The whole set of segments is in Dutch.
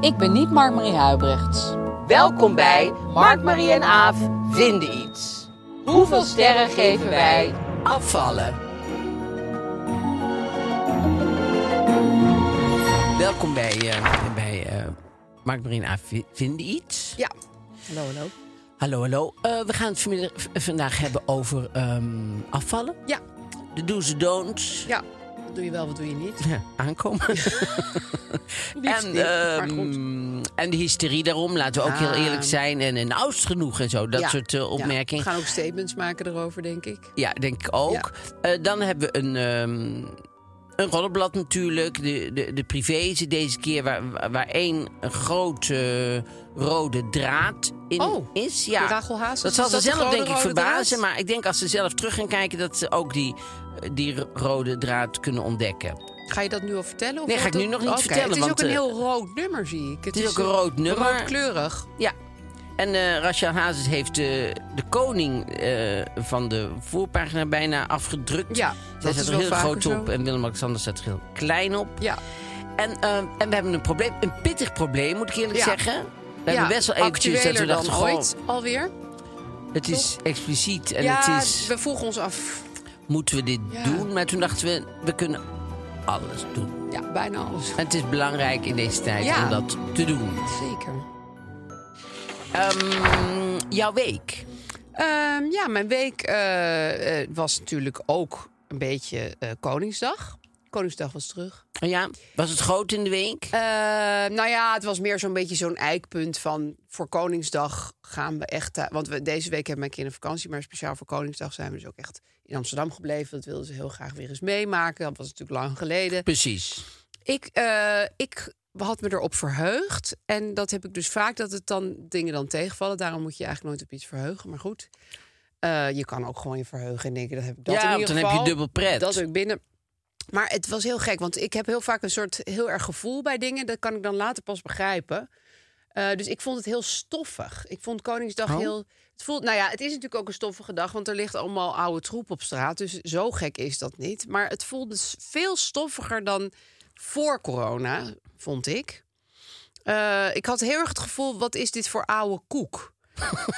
Ik ben niet Mark-Marie Huibrechts. Welkom bij Mark, Marie en Aaf vinden iets. Hoeveel sterren geven wij afvallen? Welkom bij, eh, bij eh, Mark, Marie en Aaf vi- vinden iets. Ja. Hallo, hallo. Hallo, hallo. Eh, we gaan het vanmiddag- v- vandaag hebben over ehm, afvallen. Ja. De do's en don'ts. Ja. Wat doe je wel, wat doe je niet? Ja, aankomen. Liefst en, niet, maar goed. ehm, en de hysterie daarom, laten we ook heel Ah. eerlijk zijn. En een oudst genoeg en zo, dat Ja. soort eh, Ja. opmerkingen. We Ja. gaan ook statements maken erover, denk ik. denk ik ook. Eh, dan hebben we een, ehm, een rollenblad natuurlijk. De, de, de privé zit deze keer waar, waar- waar één grote rode draad in Oh, is. Ja. de Rachel Hazes, Dat is zal ze dat de zelf grote denk ik rode draad? verbazen. Maar ik denk als ze zelf terug gaan kijken... dat ze ook die, die rode draad kunnen ontdekken. Ga je dat nu al vertellen? Of Nee, ga wat ik nu dat- nog niet Oké, vertellen, Het is want, ook een eh, heel rood nummer, zie ik. het is ook een rood eh, nummer. Roodkleurig. Ja. En eh Rachel Hazes heeft eh, de koning eh, van de voorpagina bijna afgedrukt. Ja, Zij dat staat is er wel heel vaker groot zo. op en Willem-Alexander staat er heel klein op. Ja. En, eh, en we hebben een probleem, een pittig probleem moet ik eerlijk Ja. zeggen. We ja, hebben best wel eventjes dat we actueler dachten, dan goh, ooit alweer. het is expliciet en ja, het is, we vroegen ons af. moeten we dit Ja. doen? Maar toen dachten we, we kunnen alles doen. Ja, bijna alles. En het is belangrijk in deze tijd Ja. om dat te doen. Zeker. Ehm, jouw week. Ehm, ja, mijn week eh, eh, was natuurlijk ook een beetje eh, Koningsdag. Koningsdag was terug. Oh ja, was het groot in de week? Eh, nou ja, het was meer zo'n beetje zo'n eikpunt van... voor Koningsdag gaan we echt... eh, want we, deze week hebben mijn kinderen vakantie... maar speciaal voor Koningsdag zijn we dus ook echt in Amsterdam gebleven. Dat wilden ze heel graag weer eens meemaken. Dat was natuurlijk lang geleden. Precies. Ik, eh, ik had me erop verheugd. En dat heb ik dus vaak, dat het dan dingen dan tegenvallen. Daarom moet je je eigenlijk nooit op iets verheugen. Maar goed, Eh, je kan ook gewoon je verheugen en denken... dat heb ik dat Ja, in want ieder dan heb je geval. dubbel pret. Dat heb ik binnen. Maar het was heel gek, want ik heb heel vaak een soort heel erg gevoel bij dingen. Dat kan ik dan later pas begrijpen. Eh, dus ik vond het heel stoffig. Ik vond Koningsdag Oh. heel... Het voelt, nou ja, het is natuurlijk ook een stoffige dag, want er ligt allemaal oude troep op straat. Dus zo gek is dat niet. Maar het voelde s- veel stoffiger dan voor corona, vond ik. Eh, ik had heel erg het gevoel, wat is dit voor oude koek?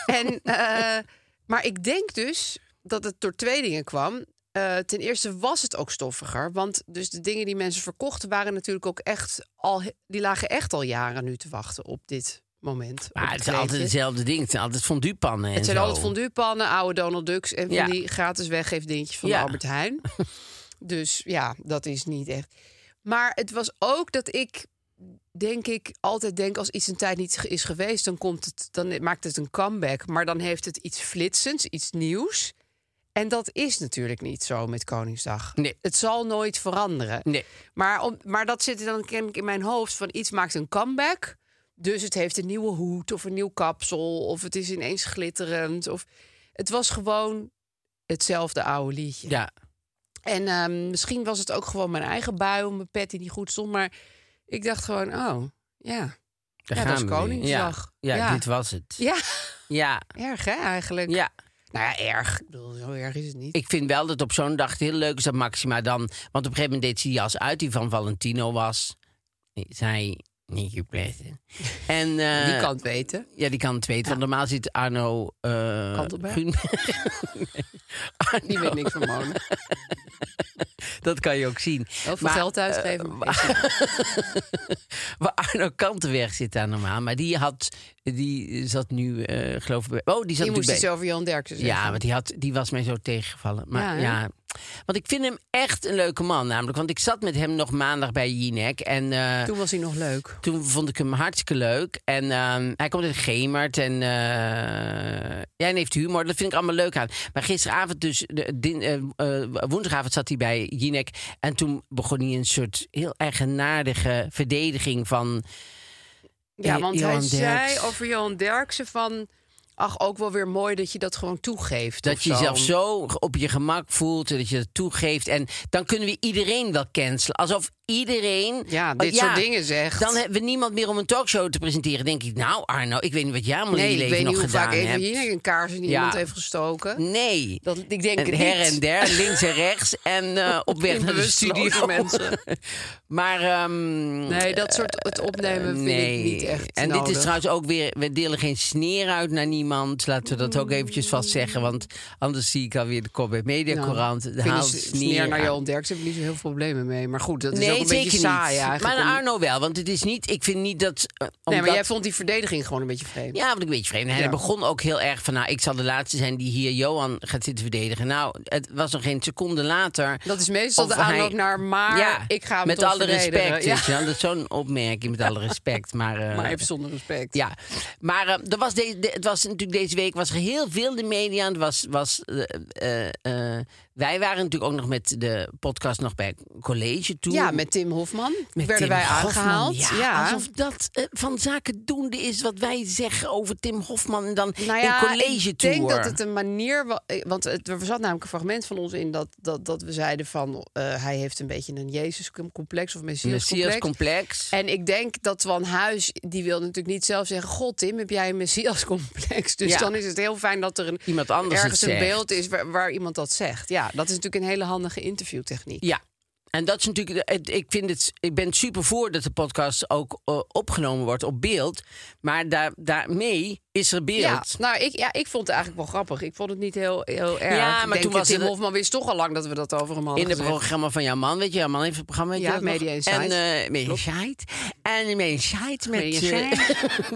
en, eh, maar ik denk dus dat het door twee dingen kwam. Eh, ten eerste was het ook stoffiger, want dus de dingen die mensen verkochten waren natuurlijk ook echt al, he- die lagen echt al jaren nu te wachten op dit moment. op Maar Ah, het dit is altijd kleedje. hetzelfde ding. Het zijn altijd fonduepannen. en Het zijn zo. altijd fonduepannen, oude Donald Ducks en van Ja. die gratis weggeefdingetjes van Ja. de Albert Heijn. dus ja, dat is niet echt. Maar het was ook dat ik, denk ik, altijd denk als iets een tijd niet is geweest, dan, komt het, dan maakt het een comeback. Maar dan heeft het iets flitsends, iets nieuws. En dat is natuurlijk niet zo met Koningsdag. Nee. Het zal nooit veranderen. Nee. Maar, om, maar dat zit dan kennelijk in mijn hoofd van iets maakt een comeback. Dus het heeft een nieuwe hoed of een nieuw kapsel of het is ineens glitterend. Of, het was gewoon hetzelfde oude liedje. Ja. En ehm, misschien was het ook gewoon mijn eigen bui om mijn pet die niet goed stond. Maar ik dacht gewoon, oh ja, Daar Ja, gaan dat is we weer. Koningsdag. Ja. Ja, Ja. dit was het. ja Ja. erg hè eigenlijk. ja. Nou ja, erg. Ik bedoel, zo erg is het niet. Ik vind wel dat op zo'n dag het heel leuk is dat Maxima dan... Want op een gegeven moment deed ze die jas uit die van Valentino was. Zij... Niet gepletten. En, eh, die kan het weten. Ja, die kan het weten. Want normaal zit Arno... eh Kantelberg? Guun- Die weet niks van Mona. dat kan je ook zien. Heel veel Maar, geld uitgeven. maar is niet. Waar Arno Kantenweg zit daar normaal. Maar die, had, die zat nu, eh, geloof ik... bij- Oh, die zat Je moest natuurlijk iets bij... over Jan Derksen zeggen. Ja, want die, had, die was mij zo tegengevallen. Ja, Maar hè? ja, Want ik vind hem echt een leuke man namelijk. Want ik zat met hem nog maandag bij Jinek. En eh, Toen was hij nog leuk. toen vond ik hem hartstikke leuk. En ehm, hij komt uit Gemert en, eh, ja, en heeft humor. Dat vind ik allemaal leuk aan. Maar gisteravond, dus de, din- eh, eh, woensdagavond, zat hij bij Jinek. En toen begon hij een soort heel eigenaardige verdediging van. Ja, Eh, want Johan hij zei Derksen. over Johan Derksen van... Ach, ook wel weer mooi dat je dat gewoon toegeeft. Dat of je jezelf zo op je gemak voelt, en dat je dat toegeeft. En dan kunnen we iedereen wel cancelen. Alsof iedereen. Ja, Oh, dit soort dingen zegt. Dan hebben we niemand meer om een talkshow te presenteren. Denk ik, nou Arno, ik weet niet wat jij allemaal in je Nee, ik leven weet nog niet hoe gedaan vaak even hebt. hier een kaars in iemand heeft gestoken. Nee. Dat, ik denk En het her niet. en der, links en rechts en eh, op weg In naar de bewustloze studio. mensen. Maar ehm, Nee, dat soort het opnemen vind nee. ik niet echt En dit nodig. is trouwens ook weer, we delen geen sneer uit naar niemand. Laten we dat ook eventjes vast zeggen, want anders zie ik alweer de kop bij Mediacorant. Nou, de vind haal ik dus sneer naar aan. Johan Derksen heb ik niet zo heel veel problemen mee. Maar goed, dat is ook een zeker beetje saai niet. eigenlijk. Maar om- naar Arno wel, want het is niet, ik vind niet dat... eh, Nee, maar omdat- jij vond die verdediging gewoon een beetje vreemd. Ja, wat ik een beetje vreemd. En Ja. hij begon ook heel erg van, nou, ik zal de laatste zijn die hier Johan gaat zitten verdedigen. Nou, het was nog geen seconde later. Dat is meestal Of de aanloop hij- naar, maar ik ga hem Met toch alle verdedigen. respect, weet je wel. Dat is zo'n opmerking, met alle respect. Maar, eh, Ja, maar even zonder respect. ja, maar eh, er was de, de- het was natuurlijk deze week was er heel veel in de media. Het was, was, eh, eh, eh, wij waren natuurlijk ook nog met de podcast nog bij college toen. Ja, met Tim Hofman Met werden Tim wij Hofman, aangehaald. Ja, ja. Alsof dat eh, van zaken doende is wat wij zeggen over Tim Hofman. En dan Nou ja, in college ik denk tour. dat het een manier was. Want het, er zat namelijk een fragment van ons in dat, dat, dat we zeiden van eh, hij heeft een beetje een Jezus-complex of Messias Messias-complex. complex. En ik denk dat Van Huis, die wil natuurlijk niet zelf zeggen... God, Tim, heb jij een Messias-complex? Dus Ja. dan is het heel fijn dat er een, Iemand anders ergens het een zegt. beeld is waar, waar iemand dat zegt. Ja, dat is natuurlijk een hele handige interviewtechniek. Ja. En dat is natuurlijk. eh, het- Ik, vind het, ik ben super voor dat de podcast ook eh, opgenomen wordt op beeld. Maar daar, daarmee is er beeld. Ja, nou, ik, ja, ik vond het eigenlijk wel grappig. Ik vond het niet heel, heel erg. Ja, Ik maar denk, toen was Tim het- Hofman wist toch al lang dat we dat over hem hadden in het gezegd. programma van jouw man, weet je, jouw man heeft een programma. weet je Ja, dat nog? Media Insight. En eh Media Insight. En eh, Media Insight met, Media eh,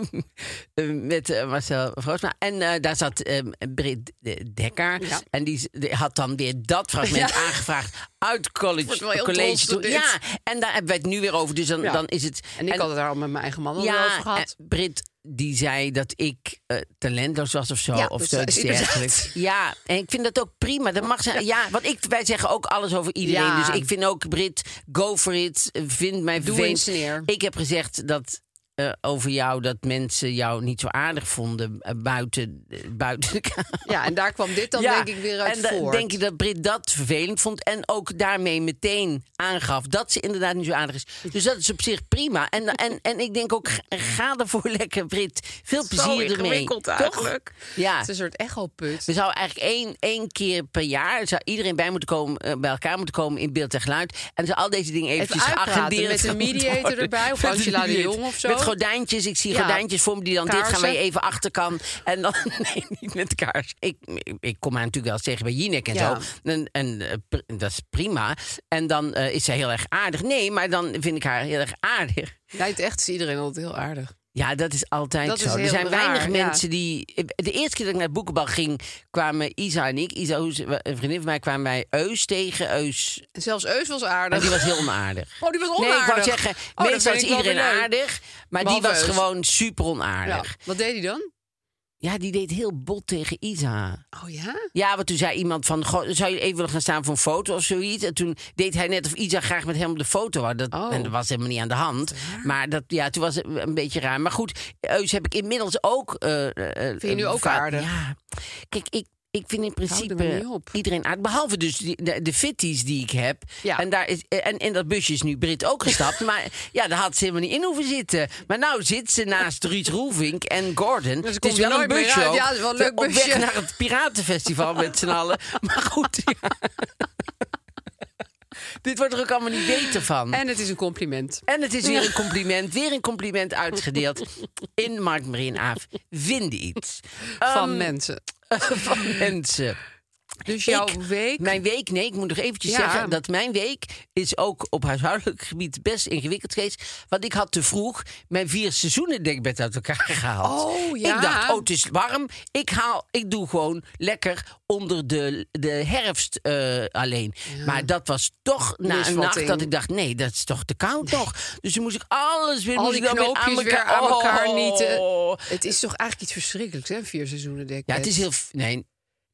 eh, met eh, Marcel Vroosma. En eh, daar zat eh, Britt eh, Dekker. Ja. En die, z- die had dan weer dat fragment aangevraagd uit wordt wel college. heel trots college door toe. dit. Ja, en daar hebben we het nu weer over. Dus dan, Ja. dan is het. En ik had het daar al met mijn eigen man al ja, over gehad. en Brit die zei dat ik eh, talentloos was of zo. Ja, of dat zo, zei dus. iets ze inderdaad. dergelijks. Ja, en ik vind dat ook prima. Dat mag zijn. Ja, want ik, wij zeggen ook alles over iedereen. Ja. Dus ik vind ook Brit, go for it. eh, Vind mij Doe vervelend. eens neer. Ik heb gezegd dat eh, over jou dat mensen jou niet zo aardig vonden eh, buiten, eh, buiten de kamer. Ja, en daar kwam dit dan Ja, denk ik weer uit en dan voort. denk ik dat Brit dat vervelend vond. En ook daarmee meteen aangaf dat ze inderdaad niet zo aardig is. Dus dat is op zich prima. En, en, en ik denk ook, ga- ga ervoor lekker, Brit. Veel plezier ermee. ingewikkeld Toch? eigenlijk. Ja. Het is een soort echoput. We zouden eigenlijk één, één keer per jaar zou iedereen bij, moeten komen, eh, bij elkaar moeten komen in beeld en geluid. En ze al deze dingen eventjes uitpraten agenderen. met een mediator Met een erbij, of Angela de mediator. Jong of zo. Met gordijntjes. Ik zie Ja. gordijntjes voor me die dan dit gaan Kaarsen. wij even achterkan. En dan, nee, niet met kaars. Ik, ik kom haar natuurlijk wel eens tegen bij Jinek en Ja. zo. En, en eh, pr- dat is prima. En dan eh, is zij heel erg aardig. Nee, maar dan vind ik haar heel erg aardig. Ja, in het echt is iedereen altijd heel aardig. Ja, dat is altijd Dat is zo. er heel zijn raar, weinig ja. mensen die... eh, De eerste keer dat ik naar het boekenbal ging, kwamen Isa en ik... Isa, hoe ze- een vriendin van mij, kwamen wij Eus tegen. Eus, En zelfs Eus was maar aardig. die was heel onaardig. Oh, die was Nee, onaardig. ik wou zeggen, Oh, dat meestal vind is ik wel weer iedereen leuk. aardig. Maar die Behalve was Eus. gewoon super Ja. onaardig. Wat deed hij dan? Ja. die deed heel bot tegen Isa. Oh ja? Ja, want toen zei iemand van... "Goh, zou je even willen gaan staan voor een foto of zoiets? En toen deed hij net of Isa graag met hem op de foto had. Dat, Oh. En dat was helemaal niet aan de hand. Maar dat, ja, toen was het een beetje raar. Maar goed, Eus heb ik inmiddels ook... eh, eh, je nu eh, ook vaak- aardig? Ja. Kijk, ik, ik vind in er maar niet principe op. iedereen aardig. Behalve dus die, de, de fitties die ik heb. Ja. En, daar is, en in dat busje is nu Brit ook gestapt. maar ja, daar had ze helemaal niet in hoeven zitten. Maar nou zit ze naast Ruud Roelvink en Gordon. Dus het komt is er wel een nooit meer busje uit. ook. Ja, het is wel een leuk Op weg busje. naar het Piratenfestival met z'n allen. Maar goed, ja. Dit wordt er ook allemaal niet beter van. En, En het is een compliment. het is weer een compliment, weer een compliment uitgedeeld in Mark Marien Aaf. Vind iets Van mensen. van mensen. Ehm, Dus jouw Ik- week. Mijn week, nee, ik moet nog eventjes Ja. zeggen dat mijn week is ook op huishoudelijk gebied best ingewikkeld geweest. Want ik had te vroeg mijn vier seizoenen dekbed uit elkaar gehaald. Oh, ja. Ik dacht, oh, het is warm. Ik, haal, ik doe gewoon lekker onder de, de herfst eh, alleen. Maar dat was toch na een nacht Misvatting. dat ik dacht, nee, dat is toch te koud nog. Dus toen moest ik alles weer, Al moest die ik dan weer aan knoopjes elkaar, dus weer aan elkaar Oh. nieten. Het is toch eigenlijk iets verschrikkelijks, hè? Vier seizoenen dek. Ja, het is heel... Nee,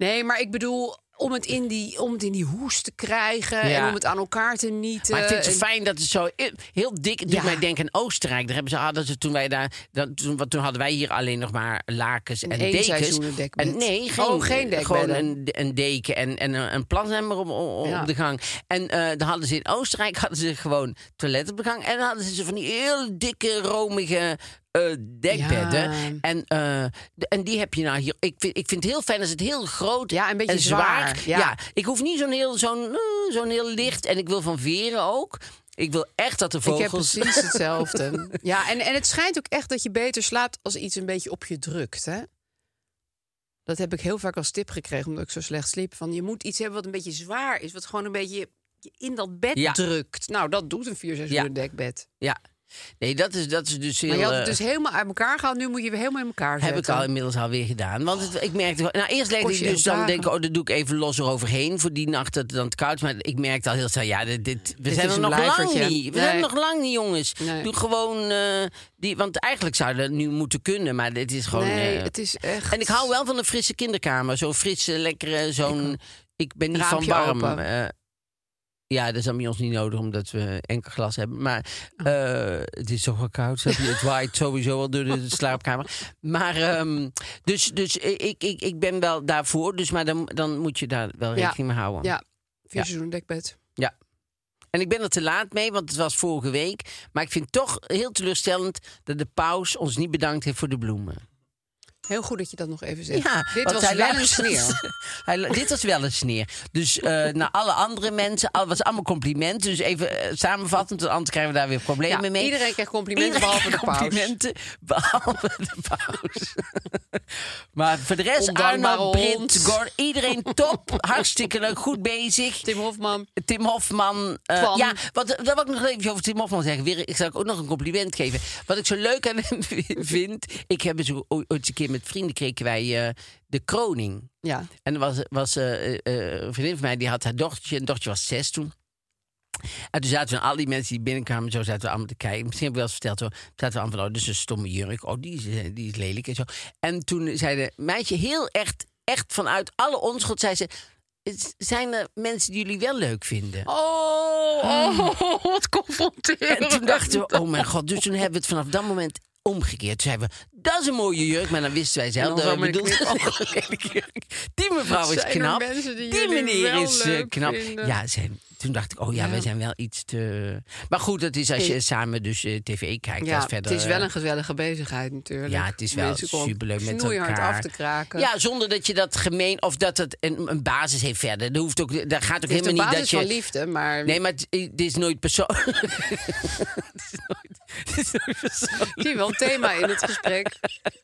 Nee, maar ik bedoel, om het in die, om het in die hoes te krijgen Ja. en om het aan elkaar te nieten. Maar ik vind het en- zo fijn dat het zo eh, heel dik het doet eh, Ja. mij denken aan Oostenrijk. Daar hebben ze hadden ze toen wij daar dat, toen, want toen hadden wij hier alleen nog maar lakens en Een één dekens. seizoenen dekbed. En nee, Oh, geen, geen gewoon dekbedden. een, een deken en, en een, een plasnemmer op, op Ja. de gang. En eh dan hadden ze in Oostenrijk hadden ze gewoon toilet op de gang en dan hadden ze zo van die heel dikke romige eh, dekbedden. Ja. En, eh, de- en die heb je nou hier. Ik vind, ik vind het heel fijn als het heel groot Ja, een beetje en zwaar. zwaar, ja. ik hoef niet zo'n heel, zo'n, eh, zo'n heel licht. En ik wil van veren ook. Ik wil echt dat de Ik heb vogels... precies hetzelfde. ja, en, en het schijnt ook echt dat je beter slaapt als iets een beetje op je drukt, hè? Dat heb ik heel vaak als tip gekregen, omdat ik zo slecht sliep. Van je moet iets hebben wat een beetje zwaar is, wat gewoon een beetje je in dat bed Ja. drukt. Nou, dat doet een vier seizoenen dekbed. Ja. Nee, dat is, dat is dus heel... Maar je had het eh, dus helemaal uit elkaar gehaald. Nu moet je weer helemaal in elkaar zetten. Heb ik al inmiddels alweer gedaan. Want het- ik merkte... wel- Nou, eerst legde Kost ik je dus heel dan dagen. denk ik... Oh, dat doe ik even los eroverheen. Voor die nacht dat het dan te koud is. Maar ik merkte al heel snel... Ja, dit, dit- we zijn is er nog een lang blijvertje. niet. We Nee. zijn er nog lang niet, jongens. Nee. Doe gewoon... eh, die, want eigenlijk zouden we het nu moeten kunnen. Maar dit is gewoon... Nee, eh, het is echt... En ik hou wel van een frisse kinderkamer. Zo'n frisse, lekkere, zo'n... Ik ben niet van Raampje warm. open. eh, ja, dat is aan bij ons niet nodig, omdat we enkel glas hebben. Maar Oh. eh, het is toch wel koud. snap je? Het waait sowieso wel door de slaapkamer. Maar ehm, dus, dus ik, ik, ik ben wel daarvoor. Dus, maar dan, dan moet je daar wel Ja. rekening mee houden. Ja, vier Ja. seizoenen dekbed. Ja. En ik ben er te laat mee, want het was vorige week. Maar ik vind het toch heel teleurstellend dat de paus ons niet bedankt heeft voor de bloemen. Heel goed dat je dat nog even zegt. Ja, Dit want was hij wel een luistert- sneer. Hij lu- dit was wel een sneer. Dus eh, naar alle andere mensen, al was allemaal complimenten. Dus even eh, samenvattend, want anders krijgen we daar weer problemen Ja, mee. iedereen krijgt complimenten, Iedereen behalve de krijgt paus. complimenten, behalve de paus. maar voor de rest, Ondankbare Arno, Brint, hond. Gordon, iedereen top. hartstikke leuk, goed bezig. Tim Hofman. Tim Hofman. eh, Van. ja, wat, daar wil ik nog even over Tim Hofman zeggen. Weer, ik zal ook nog een compliment geven. Wat ik zo leuk aan hem vind. Ik heb eens, ooit eens een keer met vrienden kregen wij eh, de kroning. Ja. En er was, was eh, eh, een vriendin van mij, die had haar dochtertje. En het dochtertje was zes toen. En toen zaten we, al die mensen die binnenkwamen, zo zaten we allemaal te kijken. Misschien heb ik wel eens verteld, hoor. Zaten we allemaal van, oh, dus een stomme jurk. Oh, die is, die is lelijk en zo. En toen zei de meisje heel echt, echt vanuit alle onschuld, zei ze... "Het Zijn er mensen die jullie wel leuk vinden? Oh, oh wat confronterend. Ah. En toen dachten we, oh mijn god. Dus toen hebben we het vanaf dat moment omgekeerd. Toen zeiden we, dat is een mooie jurk. Maar dan wisten wij zelf, En dan dat zo met een bedoelde knip. een lelijke jurk. Die mevrouw is Zijn er knap. mensen die jullie meneer wel is eh, leuk knap. vinden? Ja, zijn, toen dacht ik, oh ja, wij zijn wel iets te... Maar goed, dat is als je Ik- samen dus eh, tv kijkt. Ja, dat is verder, het is wel eh, een gezellige bezigheid natuurlijk. ja, het is wel Mensen komen superleuk met snoeihard elkaar. af te kraken. Ja, zonder dat je dat gemeen of dat het een, een basis heeft verder. Dat hoeft ook, daar gaat ook het is de helemaal niet basis dat je van liefde, maar, Nee, maar het, het is nooit persoonlijk. het, is nooit, het is nooit persoonlijk. zie je wel een thema in het gesprek.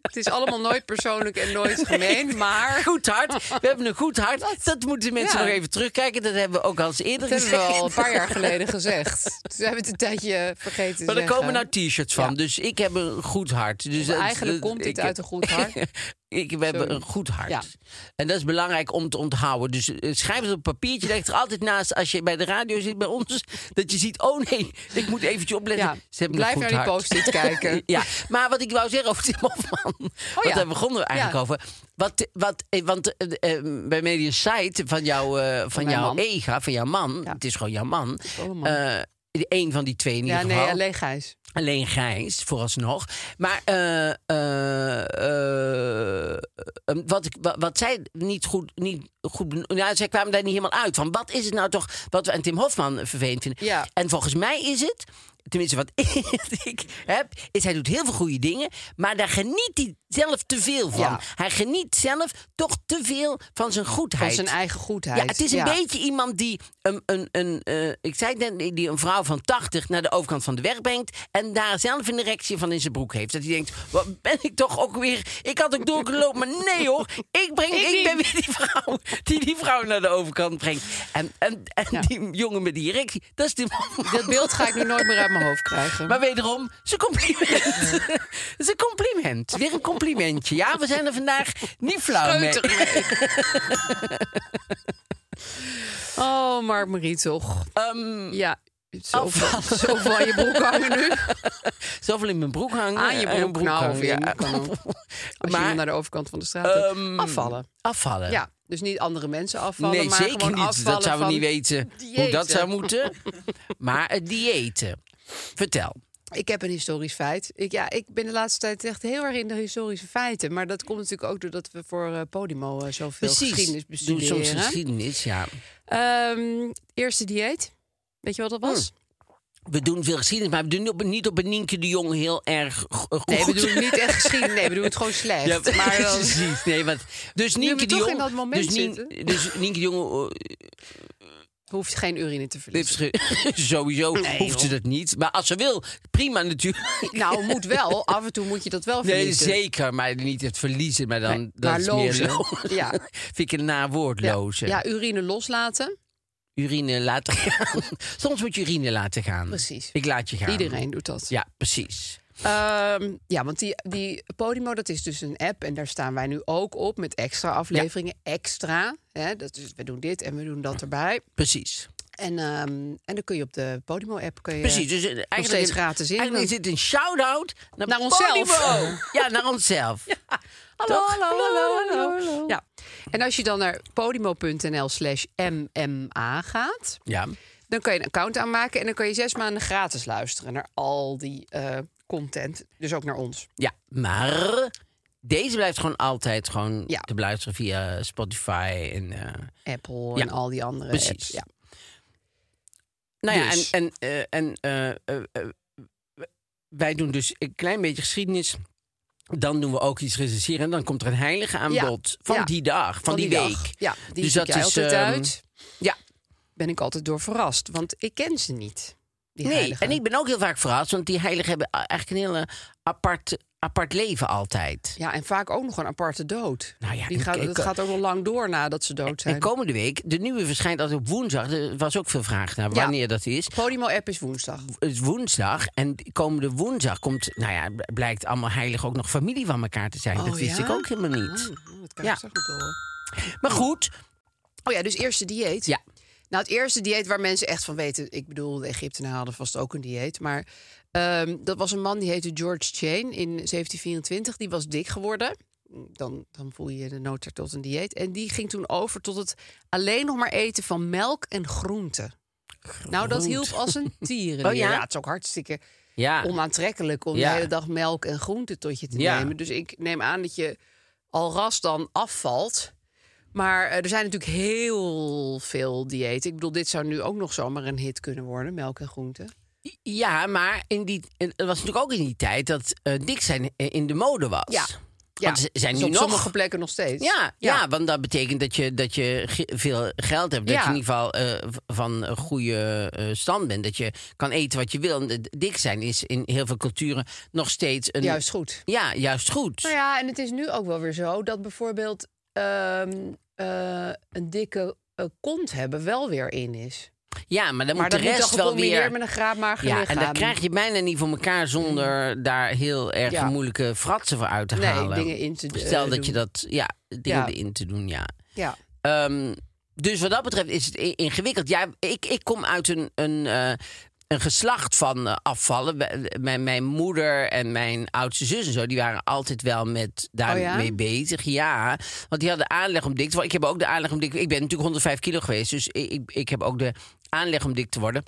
het is allemaal nooit persoonlijk en nooit gemeen, maar... Goed hart. We hebben een goed hart. Dat, moeten mensen ja. nog even terugkijken. Dat hebben we ook al eens eerder Dat hebben we gezegd. al een paar jaar geleden gezegd. Dus we hebben het een tijdje vergeten te maar er zeggen. komen nou t-shirts van. Ja. Dus ik heb een goed hart. Dus Maar dat- Eigenlijk dat- komt dit ik- uit een goed hart. Ik, we hebben een goed hart. Ja. En dat is belangrijk om te onthouden. Dus eh, schrijf het op papiertje. Leg het er altijd naast als je bij de radio zit bij ons. Dat je ziet, oh nee, ik moet eventjes opletten. Ja, Ze hebben blijf een goed naar die hart. post-it kijken. Oh ja, maar wat ik wou zeggen over Tim Hofman. Want ja. daar begonnen we eigenlijk Ja. over. Wat, wat, eh, want eh, eh, bij Media Site van, jou, eh, van mijn jouw man. ega, van jouw man. Ja. Het is gewoon jouw man. wel een man. Eh, een van die twee in Ja, ieder nee, geval. alleen Gijs. Alleen Gijs, vooralsnog. Maar eh, eh, eh, eh, wat, ik, wa- wat zij niet goed... Niet goed ben- nou, zij kwamen daar niet helemaal uit van. Wat is het nou toch wat we aan Tim Hofman vervelend vinden? Ja. En volgens mij is het... tenminste wat ik heb, is hij doet heel veel goede dingen, maar daar geniet hij zelf te veel van. Ja. Hij geniet zelf toch te veel van zijn goedheid. Van zijn eigen goedheid. Ja, het is een beetje iemand die een, een, een eh, ik zei het net, die een vrouw van 80 naar de overkant van de weg brengt en daar zelf een erectie van in zijn broek heeft. Dat hij denkt, wat ben ik toch ook weer? Ik had ook door kunnen lopen, maar nee hoor, ik breng, ik, ben weer die vrouw die die vrouw naar de overkant brengt. En, en, en die jongen met die erectie, dat is die man. Dat beeld ga ik nu nooit meer uit mijn hoofd krijgen. Maar wederom, zijn compliment. Het is een compliment. Weer een complimentje. Ja, we zijn er vandaag niet flauw mee. Peuter. oh, maar Marie toch. Ehm, ja, zoveel, afval. zoveel aan je broek hangen nu. Zoveel in mijn broek hangen. Aan je eh, broek, nou, hangen, of in je broek hangen. Als je Maar- hem naar de overkant van de straat hebt. Ehm, afvallen. Afvallen. Ja, dus niet andere mensen afvallen, nee, maar zeker gewoon niet. afvallen Dat zouden we van... niet weten hoe dat diëten. zou moeten. maar het diëten. Vertel. Ik heb een historisch feit. Ik, ja, ik ben de laatste tijd echt heel erg in de historische feiten. Maar dat komt natuurlijk ook doordat we voor eh, Podimo eh, zoveel geschiedenis Doe bestuderen. soms geschiedenis, ja. Ehm, eerste dieet. Weet je wat dat was? Oh. We doen veel geschiedenis, maar we doen op- niet op een Nienke de Jong heel erg go- goed. Nee, we doen het niet echt geschiedenis. Nee, we doen het gewoon slecht. Ja, maar dan- precies. Nee, want, dus Nu we Nienke de toch Jong... in dat moment dus, zitten. dus Nienke de Jong eh, hoeft geen urine te heeft verliezen. ge- sowieso hoeft ze dat niet. Maar als ze wil, prima natuurlijk. Nou, moet wel. Af en toe moet je dat wel Nee, verliezen. zeker. Maar niet het verliezen, maar dan... Nee, dat maar is meer lozen. lo- Ja. Vind ik een naar woord, Ja, lozen. ja, urine loslaten. Urine laten gaan. Soms moet je urine laten gaan. Precies. Ik laat je gaan. Iedereen doet dat. Ja, precies. Ehm, ja, want die, die Podimo, dat is dus een app. En daar staan wij nu ook op met extra afleveringen. Extra. Hè? Dat is, we doen dit en we doen dat erbij. Precies. En, ehm, en dan kun je op de Podimo-app... kun je- Precies. Dus eh, eigenlijk steeds gratis in. Eigenlijk is dit een shout-out naar, Naar onszelf. Podimo. ja, naar onszelf. Hallo, Toch? hallo, hallo, hallo, hallo. Ja. En als je dan naar podimo.nl slash mma gaat... Ja. Dan kan je een account aanmaken en dan kan je zes maanden gratis luisteren naar al die eh, content. Dus ook naar ons. ja, maar deze blijft gewoon altijd gewoon Ja. te beluisteren via Spotify. En, eh, Apple Ja, en al die andere precies. apps. Ja. nou ja, Dus. en, en, eh, en eh, eh, eh, wij doen dus een klein beetje geschiedenis. Dan doen we ook iets recenseren. En dan komt er een heilige aan Ja. bod van Ja. die dag, van, die, dag. week. Ja, die Dus zoek dat jij is, altijd ehm, uit. ja. Ben ik altijd door verrast, want ik ken ze niet. Die nee, heiligen. en ik ben ook heel vaak verrast, want die heiligen hebben a- eigenlijk een heel eh, apart, apart leven altijd. Ja, en vaak ook nog een aparte dood. Nou ja, die en- gaat, en- het gaat ook nog lang door nadat ze dood zijn. En komende week, de nieuwe verschijnt altijd op woensdag. Er was ook veel vraag naar Ja. wanneer dat is. Podimo-app is woensdag. Het is woensdag en komende woensdag komt, nou ja, b- blijkt allemaal heilig ook nog familie van elkaar te zijn. dat Oh, wist ja? Ah. ik ook helemaal niet. Oh, dat kan Ja. ik straks nog horen. Maar goed, Oh ja, dus eerste dieet. Ja. Nou, het eerste dieet waar mensen echt van weten... Ik bedoel, de Egyptenaren hadden vast ook een dieet. Maar ehm, dat was een man die heette George Chain in 1724. Die was dik geworden. Dan, dan voel je de noodzaak tot een dieet. En die ging toen over tot het alleen nog maar eten van melk en groenten. Nou, dat hielp als een tieren. Oh ja? het is ook hartstikke ja, onaantrekkelijk... om Ah. Ja. de hele dag melk en groenten tot je te Ja. nemen. Dus ik neem aan dat je al ras dan afvalt. Maar eh, er zijn natuurlijk heel veel diëten. Ik bedoel, dit zou nu ook nog zomaar een hit kunnen worden, melk en groenten. ja, maar in die, en het was natuurlijk ook in die tijd dat eh, dik zijn eh, in de mode was. Ja. Want ze zijn dus nu op nog... sommige plekken nog steeds. Ja, ja. want dat betekent dat je, dat je ge- veel geld hebt. Dat Ja. je in ieder geval eh, v- van een goede eh, stand bent. Dat je kan eten wat je wil. En d- dik zijn is in heel veel culturen nog steeds een. juist goed. Ja, juist goed. Nou ja, en het is nu ook wel weer zo dat bijvoorbeeld ehm, eh, een dikke eh, kont hebben wel weer in is. Ja, maar dan Maar moet dat de moet rest dan wel gecombineerd weer. met een graadmager ja, lichaam. en daar krijg je bijna niet voor elkaar zonder daar heel erg Ja. moeilijke fratsen voor uit te Nee, halen. dingen in te, eh, Stel dat doen. je dat, ja, dingen Ja. erin te doen, ja. Ja. Ehm, dus wat dat betreft is het i- ingewikkeld. Ja, ik, ik kom uit een, een, eh, een geslacht van eh, afvallen. We- Mijn, mijn moeder en mijn oudste zus en zo, die waren altijd wel met daarmee Oh ja? bezig. Ja, want die hadden aanleg om dik te worden. Ik heb ook de aanleg om dik Ik ben natuurlijk 105 kilo geweest, dus ik, ik, ik heb ook de aanleg om dik te worden.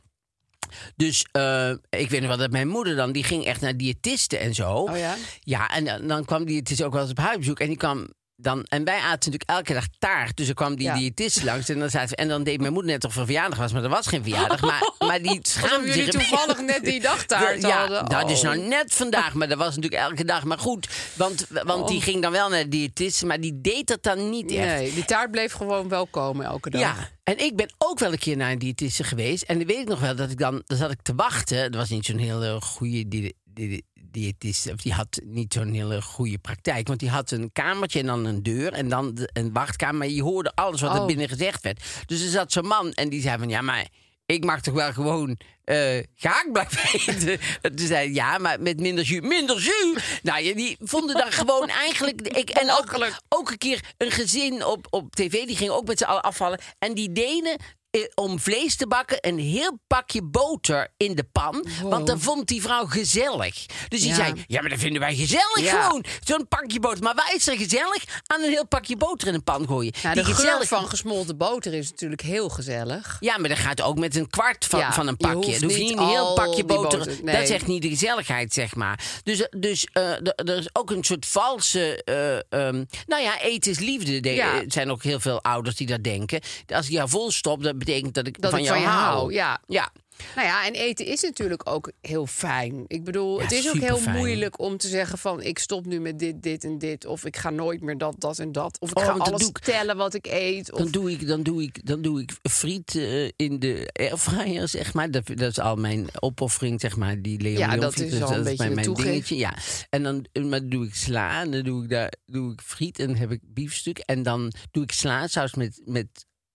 Dus eh, ik weet nog wel dat mijn moeder dan, die ging echt naar diëtisten en zo. Oh ja? eh, Ja, en dan- dan kwam die, het is ook wel eens op huisbezoek. En die kwam dan, en wij aten natuurlijk elke dag taart. Dus er kwam die Ja. diëtist langs. En dan, zaten we, en dan deed mijn moeder net of er verjaardag was. Maar er was geen verjaardag. Maar, maar die schaamde Oh. jullie zich een toevallig beetje. net die dag taart ja, hadden. dat is Oh. nou net vandaag. Maar dat was natuurlijk elke dag. Maar goed, want, want die ging dan wel naar de diëtist. Maar die deed dat dan niet echt. Oh. Nee, die taart bleef gewoon wel komen elke dag. Nou, Ja, en ik ben ook wel een keer naar een diëtiste geweest. En dan weet ik nog wel dat ik dan, dan zat ik te wachten. Er was niet zo'n hele goede di- di- diëtiste. Of die had niet zo'n hele goede praktijk. Want die had een kamertje en dan een deur en dan de- een wachtkamer. Maar je hoorde alles wat er Oh. binnen gezegd werd. Dus er zat zo'n man en die zei van ja, maar. Ik mag toch wel gewoon eh gaak blijven eten? Toen zei hij, ja, maar met minder jus. Minder jus! Nou, ja, die vonden dan gewoon eigenlijk... Ik, en ook, Belachelijk. ook een keer een gezin op, op tv, die ging ook met z'n allen afvallen. En die deden eh, om vlees te bakken een heel pakje boter in de pan. Want dat vond die vrouw gezellig. Dus die Ja. zei, ja, maar dat vinden wij gezellig Ja. gewoon. Zo'n pakje boter. Maar wij is er gezellig aan een heel pakje boter in een pan gooien. Nou, de Die geur gezellig- van gesmolten boter is natuurlijk heel gezellig. Ja, maar dat gaat ook met een kwart van, Ja, van een je pakje. hoeft Dan hoef je niet niet een heel al pakje die boter. boter, Dat nee. is echt niet de gezelligheid, zeg maar. Dus, dus eh, d- er is ook een soort valse. eh, ehm, nou ja, eten is liefde. De- Ja. Er zijn ook heel veel ouders die dat denken. Als ik jou vol stop, dat betekent dat ik Dat van ik jou van je hou. hou, ja. ja. Nou ja, en eten is natuurlijk ook heel fijn. Ik bedoel, Ja, het is ook heel superfijn. moeilijk om te zeggen van... ik stop nu met dit, dit en dit. Of ik ga nooit meer dat, dat en dat. Of ik Oh, ga want dat alles doe ik. tellen wat ik eet. Of... Dan doe ik, dan doe ik, dan doe ik friet eh, in de airfryer, zeg maar. Dat, dat is al mijn opoffering, zeg maar. Die Leon Ja, Leon dat friet, is dus al een beetje mijn, de mijn toegeef. dingetje. Ja. En dan eh, maar doe ik sla, en dan doe ik, daar, doe ik friet en dan heb ik biefstuk. En dan doe ik slaasaus met, met,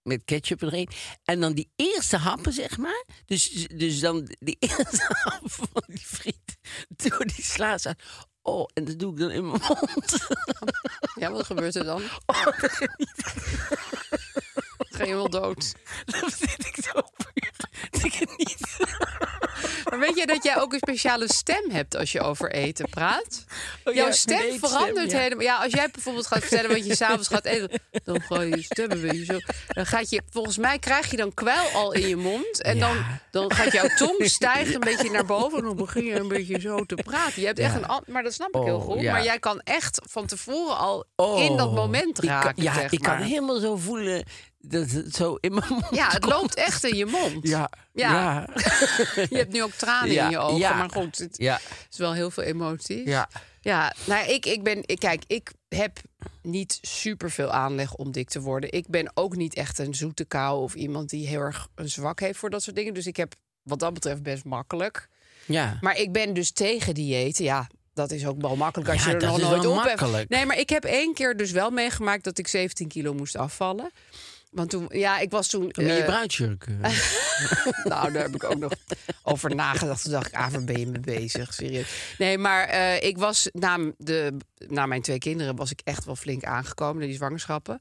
met ketchup erin. En dan die eerste happen, zeg maar. Dus, dus dan die eerste hap van die friet door die slaasaus. Oh, en dat doe ik dan in mijn mond. Ja, wat gebeurt er dan? Oh, Ga je helemaal dood. Dan zit ik zo puur. Ik geniet. Maar weet je dat jij ook een speciale stem hebt als je over eten praat? Jouw Oh ja, stem mijn eetstem, verandert ja. helemaal. Ja, als jij bijvoorbeeld gaat vertellen wat je s'avonds gaat eten, dan gooi je je stem een beetje zo. Dan gaat je, volgens mij krijg je dan kwel al in je mond. En dan, dan gaat jouw tong stijgen een beetje naar boven. En dan begin je een beetje zo te praten. Je hebt echt een. an- Maar dat snap ik heel Oh, goed. ja. Maar jij kan echt van tevoren al in dat Oh, moment ik kan- raken. ja, zeg ik kan maar. helemaal zo voelen dat het zo in mijn mond Ja, het komt. loopt echt in je mond. Ja, Ja. ja, Je hebt nu ook tranen Ja, in je ogen. ja. Maar goed, het ja. is wel heel veel emoties. Ja. Ja, nou, ik, ik ben. Ik, kijk, ik heb niet super veel aanleg om dik te worden. Ik ben ook niet echt een zoete kou of iemand die heel erg een zwak heeft voor dat soort dingen. Dus ik heb wat dat betreft best makkelijk. ja. Maar ik ben dus tegen diëten. Ja, dat is ook wel makkelijk als Ja, je er dat nog is nooit wel op makkelijk. hebt. Nee, maar ik heb één keer dus wel meegemaakt dat ik 17 kilo moest afvallen. Want toen, ja, ik was toen. Toen ben je eh, bruidsjurk. eh. nou, daar heb ik ook nog over nagedacht. Toen dacht ik, ah, waar ben je mee bezig? Serieus. Nee, maar eh, ik was na, m- de, na mijn twee kinderen was ik echt wel flink aangekomen. Die zwangerschappen.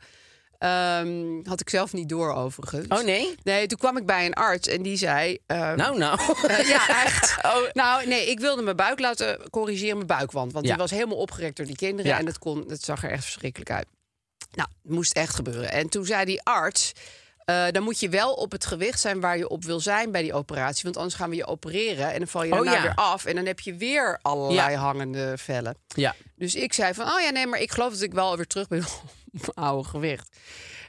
Ehm, had ik zelf niet door overigens. Oh nee? Nee, toen kwam ik bij een arts en die zei... ehm, Nou, nou. eh, ja, echt. Oh. Nou, nee, ik wilde mijn buik laten corrigeren, mijn buikwand. Want Ja. die was helemaal opgerekt door die kinderen. Ja. En dat, kon, dat zag er echt verschrikkelijk uit. Nou, het moest echt gebeuren. En toen zei die arts... eh, dan moet je wel op het gewicht zijn waar je op wil zijn bij die operatie. Want anders gaan we je opereren en dan val je Oh, daarna ja. weer af. En dan heb je weer allerlei hangende vellen. Ja. Dus ik zei van, oh ja, nee, maar ik geloof dat ik wel weer terug ben op mijn oude gewicht.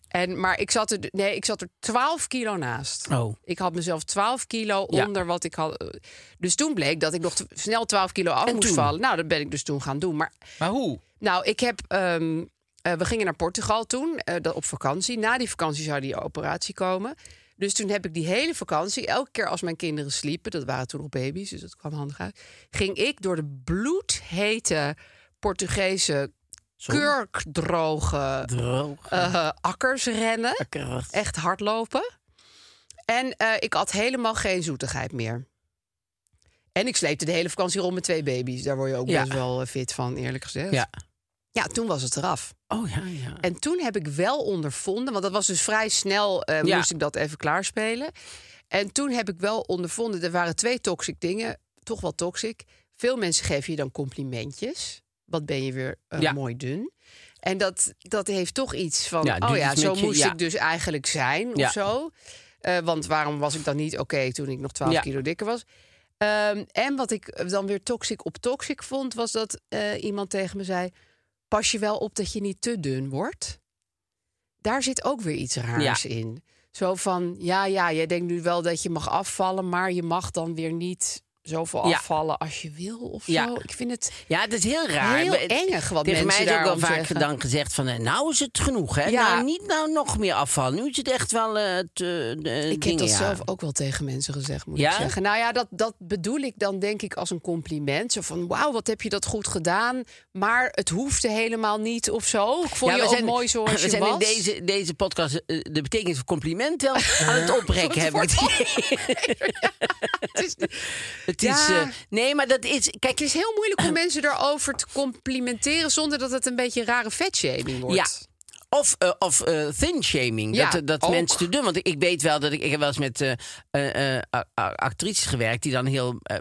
En, maar ik zat, er, nee, ik zat er 12 kilo naast. Oh. Ik had mezelf 12 kilo Ja. onder wat ik had. Dus toen bleek dat ik nog te- snel 12 kilo af En moest toen? vallen. Nou, dat ben ik dus toen gaan doen. Maar Maar hoe? nou, ik heb. ehm, eh, we gingen naar Portugal toen, eh, dat op vakantie. Na die vakantie zou die operatie komen. Dus toen heb ik die hele vakantie, elke keer als mijn kinderen sliepen, dat waren toen nog baby's, dus dat kwam handig uit, ging ik door de bloedhete Portugese kurkdroge Droog. eh, akkers rennen. Echt hardlopen. En eh, ik had helemaal geen zoetigheid meer. En ik sleepte de hele vakantie rond met twee baby's. Daar word je ook Ja. best wel eh, fit van, eerlijk gezegd. Ja. Ja, toen was het eraf. Oh ja, ja. En toen heb ik wel ondervonden, want dat was dus vrij snel, eh, Ja. moest ik dat even klaarspelen. En toen heb ik wel ondervonden, er waren twee toxic dingen, toch wel toxic. Veel mensen geven je dan complimentjes. Wat ben je weer eh, Ja. mooi dun. En dat, dat heeft toch iets van, Ja, doet oh ja, iets zo met je, moest ja. ik dus eigenlijk zijn Ja. of zo. Eh, want waarom was ik dan niet oké toen ik nog 12 Ja. kilo dikker was? Ehm, en wat ik dan weer toxic op toxic vond, was dat eh, iemand tegen me zei: pas je wel op dat je niet te dun wordt. Daar zit ook weer iets raars in. Zo van, ja, ja, jij denkt nu wel dat je mag afvallen, maar je mag dan weer niet zoveel Ja. afvallen als je wil of Ja. zo. Ik vind het Ja, het is heel raar. Heel Het- engig wat Tegen mensen mij is ook wel daarom vaak zeggen. dan gezegd van... eh, nou is het genoeg, hè? Ja. Nou, niet nou nog meer afval. Nu is het echt wel... eh, te, eh, Ik heb dingen, dat ja. zelf ook wel tegen mensen gezegd, moet Ja? ik zeggen. Nou ja, dat, dat bedoel ik dan denk ik als een compliment. Zo van, wauw, wat heb je dat goed gedaan. Maar het hoefde helemaal niet of zo. Ik vond Ja, je we ook zijn, mooi zoals we je zijn was. in deze, deze podcast eh, de betekenis van compliment wel aan het oprekken. hebben. wordt Het is, Het is, Ja. eh, nee, maar dat is... Kijk, het is heel moeilijk om mensen daarover te complimenteren... zonder dat het een beetje rare vetshaming wordt. Ja. Of, eh, of eh, thin shaming. Ja, dat dat ook. mensen te dun. Want ik weet wel dat ik. Ik heb wel eens met eh, eh, eh, a- a- actrices gewerkt. die dan heel eh,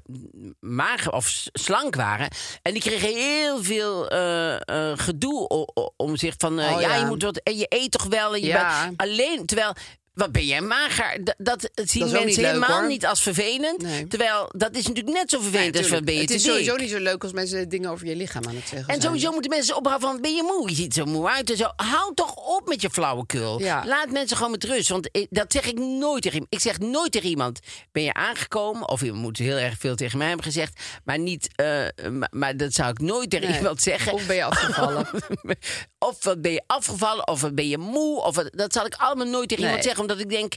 mager of s- slank waren. En die kregen heel veel eh, eh, gedoe o- o- om zich van. eh, Oh, ja, ja. je moet wat. En je eet toch wel. En je Ja. bent alleen. Terwijl. Wat ben jij mager? Dat, dat zien ook mensen niet leuk, helemaal hoor. niet als vervelend. Nee. Terwijl dat is natuurlijk net zo vervelend als Tuurlijk. wat ben je het te is sowieso dik. niet zo leuk als mensen dingen over je lichaam aan het zeggen En zijn. sowieso moeten mensen ophouden van, ben je moe? Je ziet er zo moe uit en zo. Hou toch op met je flauwekul. Ja. Laat mensen gewoon met rust. Want eh, dat zeg ik nooit tegen iemand. Ik zeg nooit tegen iemand, ben je aangekomen? Of je moet heel erg veel tegen mij hebben gezegd. Maar, niet, eh, maar, maar dat zou ik nooit tegen Nee. iemand zeggen. Nou, Of ben je afgevallen. of wat ben je afgevallen? Of wat ben je moe? Of wat- dat zal ik allemaal nooit tegen Nee. iemand zeggen. Omdat ik denk...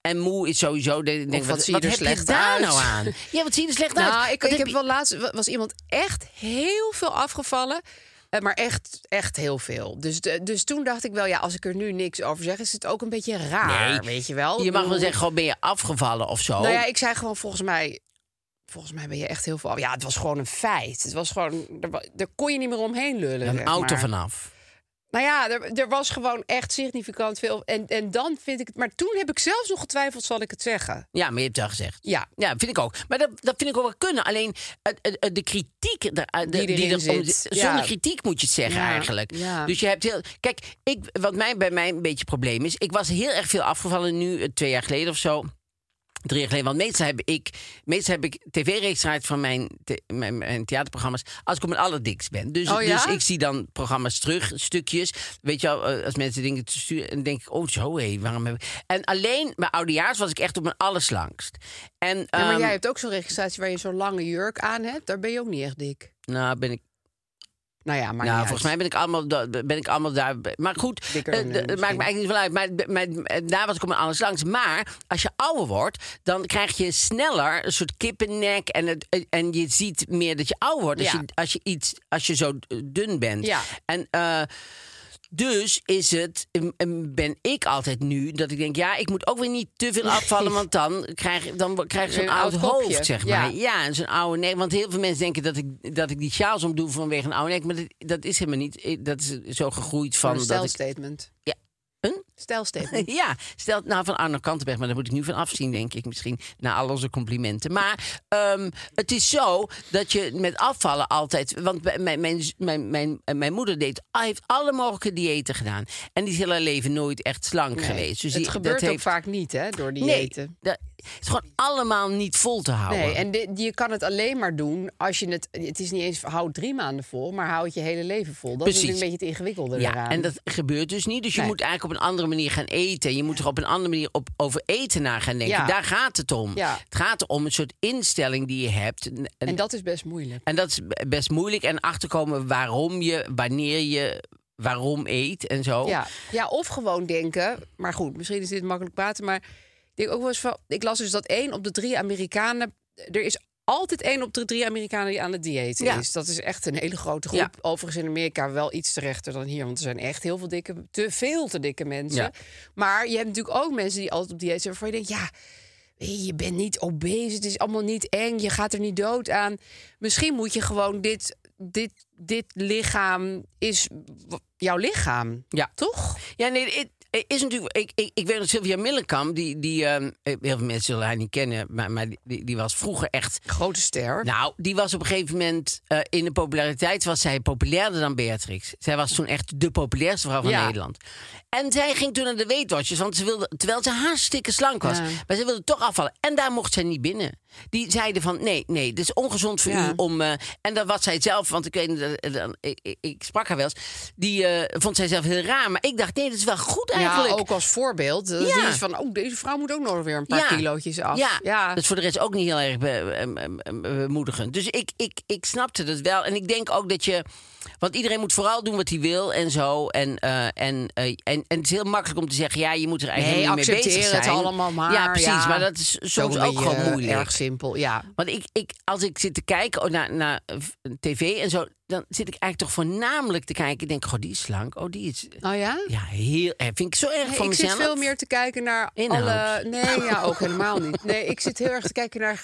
En moe is sowieso... dat ik Denk, Of wat zie je er heb slecht je daar uit? nou aan? Ja, wat zie je er slecht uit? Nou, ik, Wat ik heb je- wel laatst wa- was iemand echt heel veel afgevallen. eh, Maar echt, echt heel veel. Dus, de- dus toen dacht ik wel, ja, als ik er nu niks over zeg, is het ook een beetje raar. Nee. weet je wel. Je mag wel Hoe- zeggen, gewoon ben je afgevallen of zo. Nou ja, ik zei gewoon volgens mij. Volgens mij ben je echt heel veel. af- Ja, het was gewoon een feit. Het was gewoon. er wa- Daar kon je niet meer omheen lullen. een zeg auto maar. vanaf. Nou ja, er, er was gewoon echt significant veel. En, en dan vind ik het. Maar toen heb ik zelfs nog getwijfeld, zal ik het zeggen? Ja, maar je hebt het al gezegd. Ja. Ja, vind ik ook. Maar dat, dat vind ik ook wel kunnen. Alleen het- het- het- de kritiek er- eh, de, Die erin er om- zit, ja. Zonder kritiek moet je het zeggen Ja, eigenlijk. ja. Dus je hebt heel. Kijk, ik, wat mij, bij mij een beetje een probleem is. Ik was heel erg veel afgevallen nu, eh, twee jaar geleden of zo. Drie jaar geleden. Want meestal heb ik, meestal heb ik tv-reeks eruit van mijn, the- mijn, mijn theaterprogramma's. Als ik op mijn allerdikst ben. Dus, Oh ja? dus ik zie dan programma's terug, stukjes. Weet je wel, eh, als mensen dingen te sturen. En denk ik, oh zo hé, waarom heb ik... En alleen bij oudejaars was ik echt op mijn allerslangst. En, Ja, maar ehm, jij hebt ook zo'n registratie waar je zo'n lange jurk aan hebt. Daar ben je ook niet echt dik. Nou, ben ik, Nou ja, maar nou volgens mij ben ik allemaal, da- ben ik allemaal daar. Maar goed, eh, Dikker dan, eh, d- het maakt misschien. me eigenlijk niet veel uit. Maar, maar, eh, daar was ik om alles langs. Maar als je ouder wordt, dan krijg je sneller een soort kippennek. En, het, eh, en je ziet meer dat je ouder wordt. Als, Ja. je, als, je, iets, als je zo eh, dun bent. Ja. En. eh, dus is het, em, em, ben ik altijd nu dat ik denk, ja, ik moet ook weer niet te veel afvallen, want dan krijg, dan wo- krijg ik zo'n Een oud, oud kopje. hoofd, zeg Ja. maar. Ja, en zo'n oude nek. Want heel veel mensen denken dat ik, dat ik die sjaals omdoe vanwege een oude nek, maar dat, dat is helemaal niet. Ik- Dat is zo gegroeid van Een dat ik. stijlstatement. Ja. Een? Stijlstatement. Ja, stel nou van Arno Kantenberg, maar daar moet ik nu van afzien, denk ik misschien, na al onze complimenten. Maar ehm, het is zo dat je met afvallen altijd. Want bij- mijn, mijn, mijn, mijn, eh, mijn moeder deed, heeft alle mogelijke diëten gedaan. En die is heel haar leven nooit echt slank geweest. Dus het die, gebeurt dat ook heeft, vaak niet, hè, door die Nee, eten. dat is gewoon allemaal niet vol te houden. Nee, en dit- je kan het alleen maar doen als je het... Het is niet eens, hou drie maanden vol, maar hou het je hele leven vol. Dat is Precies. natuurlijk een beetje het ingewikkelde Ja, eraan. en dat gebeurt dus niet. Dus je Nee. moet eigenlijk op een andere manier gaan eten. Je moet er op een andere manier op, over eten na gaan denken. Ja. Daar gaat het om. Ja. Het gaat om een soort instelling die je hebt. En, en dat is best moeilijk. en dat is b- best moeilijk. En achterkomen waarom je, wanneer je, waarom eet en zo. Ja. ja, of gewoon denken... Maar goed, misschien is dit makkelijk praten, maar... Ik, denk ook wel eens van, ik las dus dat één op de drie Amerikanen... Er is altijd één op de drie Amerikanen die aan het dieet Ja. is. Dat is echt een hele grote groep. Ja. Overigens in Amerika wel iets terechter dan hier. Want er zijn echt heel veel dikke, te veel te dikke mensen. Ja. Maar je hebt natuurlijk ook mensen die altijd op dieet zijn... waarvan je denkt, ja... weet je, Je bent niet obese, het is allemaal niet eng, je gaat er niet dood aan. Misschien moet je gewoon dit, dit, dit lichaam is w- jouw lichaam. Ja. Toch? Ja, nee, het- het is natuurlijk. Ik, ik, ik weet dat Sylvia Millenkamp, die, die ehm, heel veel mensen zullen haar niet kennen, maar, maar die, die was vroeger echt Grote ster. Nou, die was op een gegeven moment eh, in de populariteit was zij populairder dan Beatrix. Zij was toen echt de populairste vrouw van Ja. Nederland. En zij ging toen naar de Weetwatchers, want ze wilde, terwijl ze hartstikke slank was, Ja. maar ze wilde toch afvallen. En daar mocht zij niet binnen. Die zeiden van, nee, nee, dit is ongezond voor Ja. u om... eh, en dat was zij zelf, want ik weet niet, eh, dan- ik, ik- ik sprak haar wel eens. Die eh, vond zij zelf heel raar. Maar ik dacht, nee, dat is wel goed eigenlijk. Ja, ook als voorbeeld. Dat Ja. is iets van, oh, deze vrouw moet ook nog weer een paar kilootjes af. Ja. dat is voor de rest ook niet heel erg be- em, em, em, bemoedigend. Dus ik, ik, ik snapte dat wel. En ik denk ook dat je... Want iedereen moet vooral doen wat hij wil en zo. En, eh, en, eh, en, en het is heel makkelijk om te zeggen... ja, je moet er eigenlijk niet Nee, mee bezig accepteer zijn. het allemaal maar. Ja, precies. Ja. Maar dat is soms ook beetje, gewoon eh, moeilijk. Erg simpel, ja. Want ik, ik, als ik zit te kijken naar, naar eh, tv en zo... dan zit ik eigenlijk toch voornamelijk te kijken. Ik denk, goh, die is slank. Oh, die is... Oh ja? Ja, heel erg. Vind ik zo erg Nee, van ik mezelf. zit veel meer te kijken naar Inhoud. alle... Nee, ja, ook helemaal niet. Nee, ik zit heel erg te kijken naar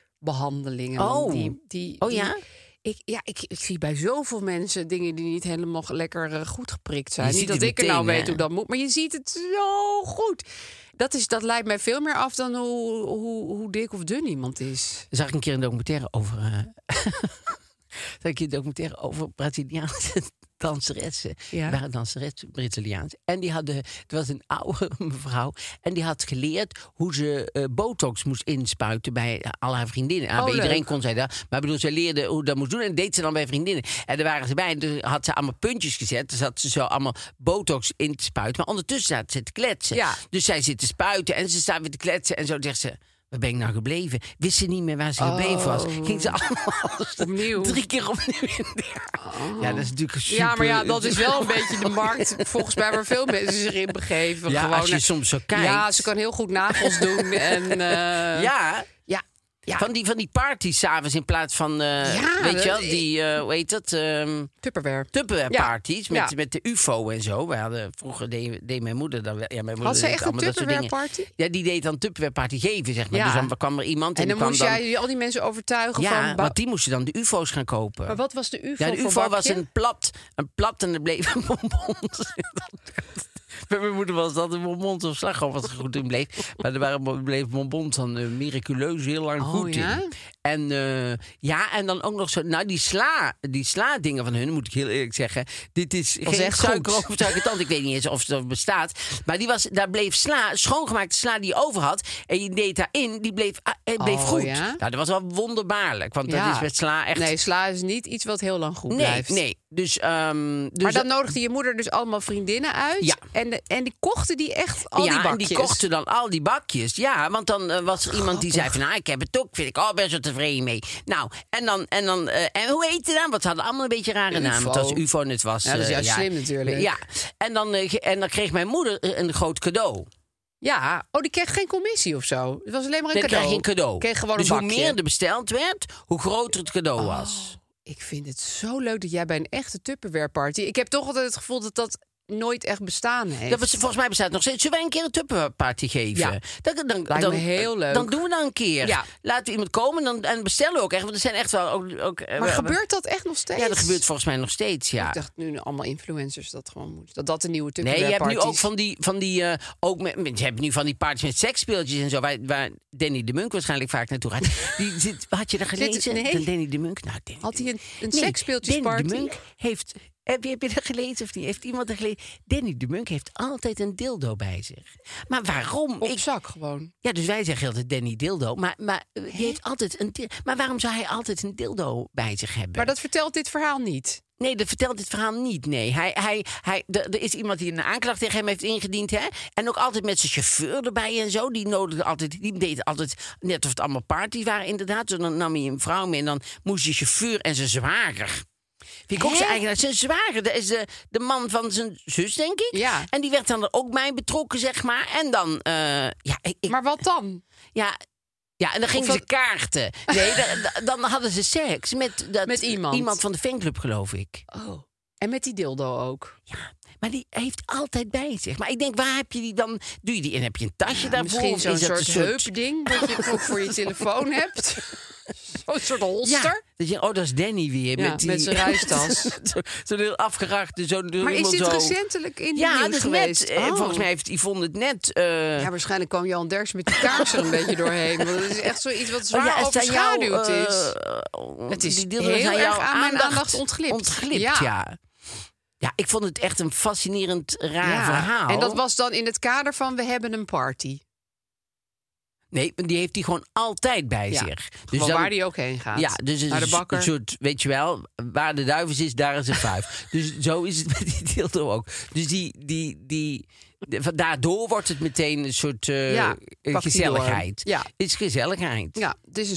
gezichtsbehandelingen. Oh. die, die, Oh die- ja? ik, ja, ik, ik zie bij zoveel mensen dingen die niet helemaal lekker eh, goed geprikt zijn. Je Niet ziet dat het ik er nou meteen, weet hè? hoe dat moet, maar je ziet het zo goed. Dat, is, dat leidt mij veel meer af dan hoe, hoe, hoe dik of dun iemand is. zag ik een keer een documentaire over. eh zag ik een documentaire over Braziliaanse danseressen. Ja. Die waren danseressen, Braziliaans. En die hadden. Het was een oude mevrouw. En die had geleerd hoe ze eh, botox moest inspuiten bij eh, al haar vriendinnen. Nou, Oh, bij iedereen leuk. kon zij dat. Maar ik bedoel, ze leerde hoe dat moest doen. En deed ze dan bij vriendinnen. En daar waren ze bij. En toen had ze allemaal puntjes gezet. Dus had ze zo allemaal botox in te spuiten. Maar ondertussen zat ze te kletsen. Ja. Dus zij zit te spuiten en ze staat weer te kletsen. En zo zegt ze, waar ben ik nou gebleven? Wist ze niet meer waar ze gebleven was. Oh. Ging ze allemaal alles Opnieuw. drie keer opnieuw in de- Ja, dat is natuurlijk super... Oh. Ja, maar ja, dat is wel een beetje de markt volgens mij waar veel mensen zich in begeven. Ja, Gewoon, als je eh, soms zo kijkt. Ja, ze kan heel goed nagels doen. En, eh, Ja, ja, ja. Van, die, van die parties s'avonds in plaats van, eh, Ja, weet dat- je wel, die, eh, hoe heet dat, ehm Tupperware. Tupperware Ja, parties met, ja. met de ufo en zo. We hadden, vroeger deed, deed mijn moeder dan wel. Ja, mijn moeder ze deed echt een allemaal dat soort dingen. Tupperware party? Ja, die deed dan Tupperware party geven, zeg maar. Ja. Dus dan kwam er iemand en, En dan die kwam moest jij al die mensen overtuigen Ja, van... ba- want die moesten dan de ufo's gaan kopen. Maar wat was de UFO Ja, de voor UFO was bakje? een plat. Een plat en er bleef een bonbon. Bij mijn moeder was dat een bonbon of slagroom wat er goed in bleef. Maar er waren, bleef bonbons dan eh, miraculeus heel lang Oh, goed ja? in. En eh, ja, en dan ook nog zo... Nou, die, sla, die sla-dingen van hun, moet ik heel eerlijk zeggen... Dit is Was geen echt goed. suiker of suikertand. Ik weet niet eens of dat bestaat. Maar die was, daar bleef sla, schoongemaakte sla die je over had... en je deed daarin, die bleef, ah, eh, bleef Oh, goed. ja? Nou, dat was wel wonderbaarlijk. Want dat Ja. is met sla echt... Nee, sla is niet iets wat heel lang goed Nee, blijft. nee. Dus, ehm, dus maar dan nodigde je moeder dus allemaal vriendinnen uit. Ja. En, de- en die kochten die echt al ja, die en bakjes. die kochten dan al die bakjes. Ja, want dan eh, was er iemand die zei van... Nou, ik heb het ook, vind ik al best wel tevreden mee. Nou, en dan... En, dan, eh, en hoe heet het dan? Want ze hadden allemaal een beetje een rare namen. Het was UFO. UFO en het was... Ja, dat is eh, juist slim natuurlijk. Ja, en dan, eh, ge- en dan kreeg mijn moeder eh, een groot cadeau. Ja, oh, die kreeg geen commissie of zo. Het was alleen maar een Nee, die cadeau. kreeg geen cadeau. Kreeg gewoon dus een hoe bakje. Oh. meer er besteld werd, hoe groter het cadeau was. Ik vind het zo leuk dat jij bij een echte Tupperware party... Ik heb toch altijd het gevoel dat dat nooit echt bestaan heeft. Dat was, volgens mij bestaat het nog steeds. Zullen wij een keer een Tupperware party geven? Ja. Dat, dan, me dan, heel leuk. Dan doen we dat een keer. Ja. Laten we iemand komen en, dan, en bestellen we ook echt. Want er zijn echt wel ook... ook eh, maar we- gebeurt dat echt nog steeds? Ja, dat gebeurt volgens mij nog steeds, ja. Ik dacht nu allemaal influencers dat gewoon moeten. Dat dat de nieuwe Nee, Tupperware je hebt party nu ook van die, van die eh, ook met, met- je hebt nu van die parties met seksspeeltjes en zo, waar, waar Danny de Munk waarschijnlijk vaak naartoe gaat. Die zit, had je dat Dit- gelezen? nee. Dan Danny de Munk? Nou, Danny Had de hij een, Munk. een Nee, seksspeeltjesparty? Danny de Munk heeft, heb je, heb je dat gelezen of niet? Heeft iemand dat gelezen? Danny de Munk heeft altijd een dildo bij zich. Maar waarom? Op Ik- zak gewoon. ja, dus wij zeggen altijd Danny dildo, maar, maar eh, die heeft altijd een dil- Maar waarom zou hij altijd een dildo bij zich hebben? Maar dat vertelt dit verhaal niet. Nee, dat vertelt dit verhaal niet. Nee, hij, hij, hij, d- er is iemand die een aanklacht tegen hem heeft ingediend. Hè? En ook altijd met zijn chauffeur erbij en zo. Die, nodigde altijd, die deed altijd net of het allemaal parties waren, inderdaad. Dus dan nam hij een vrouw mee en dan moest je chauffeur en zijn zwager. Vind ik ook zijn eigen. Zijn zwager, dat is de, de man van zijn zus, denk ik. Ja. En die werd dan er ook bij betrokken, zeg maar. En dan, eh, ja, ik, ik- Maar wat dan? ja, ja, en dan gingen Of ze kaarten. Nee, da- da- dan hadden ze seks met, dat, Met iemand. iemand van de fanclub, geloof ik. Oh. En met die dildo ook. Ja, maar die heeft altijd bij zich. Maar ik denk, waar heb je die dan? Doe je die en heb je een tasje daarvoor? Misschien Of is zo'n dat soort heupding dat je ook voor je telefoon hebt. Zo'n soort Ja, holster. dat je, oh, dat is Danny weer. Ja, met, die, met zijn reistas. Zo- Zo'n heel afgerachte. Zo, Maar is dit zo. recentelijk in de Ja, nieuws dat is geweest? net. eh, Oh. Volgens mij heeft Yvonne het net... eh, Ja, waarschijnlijk kwam Jan Derks met die kaars er een beetje doorheen. Want dat is echt zoiets wat oh zwaar ja, het aan jou, overschaduwd eh, is. eh, Het is die deelde heel aan erg jouw aan mijn aandacht ontglipt. Ontglipt, ja. Ja. ja. ik vond het echt een fascinerend raar Ja. verhaal. Dus En dat was dan in het kader van we hebben een party. Nee, die heeft hij gewoon altijd bij Ja, zich. Dus gewoon waar die ook heen gaat. Ja, dus het Naar de is bakker. een soort, weet je wel, waar de duivis is, daar is een vuif. dus zo is het met die dildo ook. Dus die, die, die, de- van daardoor wordt het meteen een soort eh, Ja, eh, pak die gezelligheid. door. Ja. Het is gezelligheid. Ja, het is een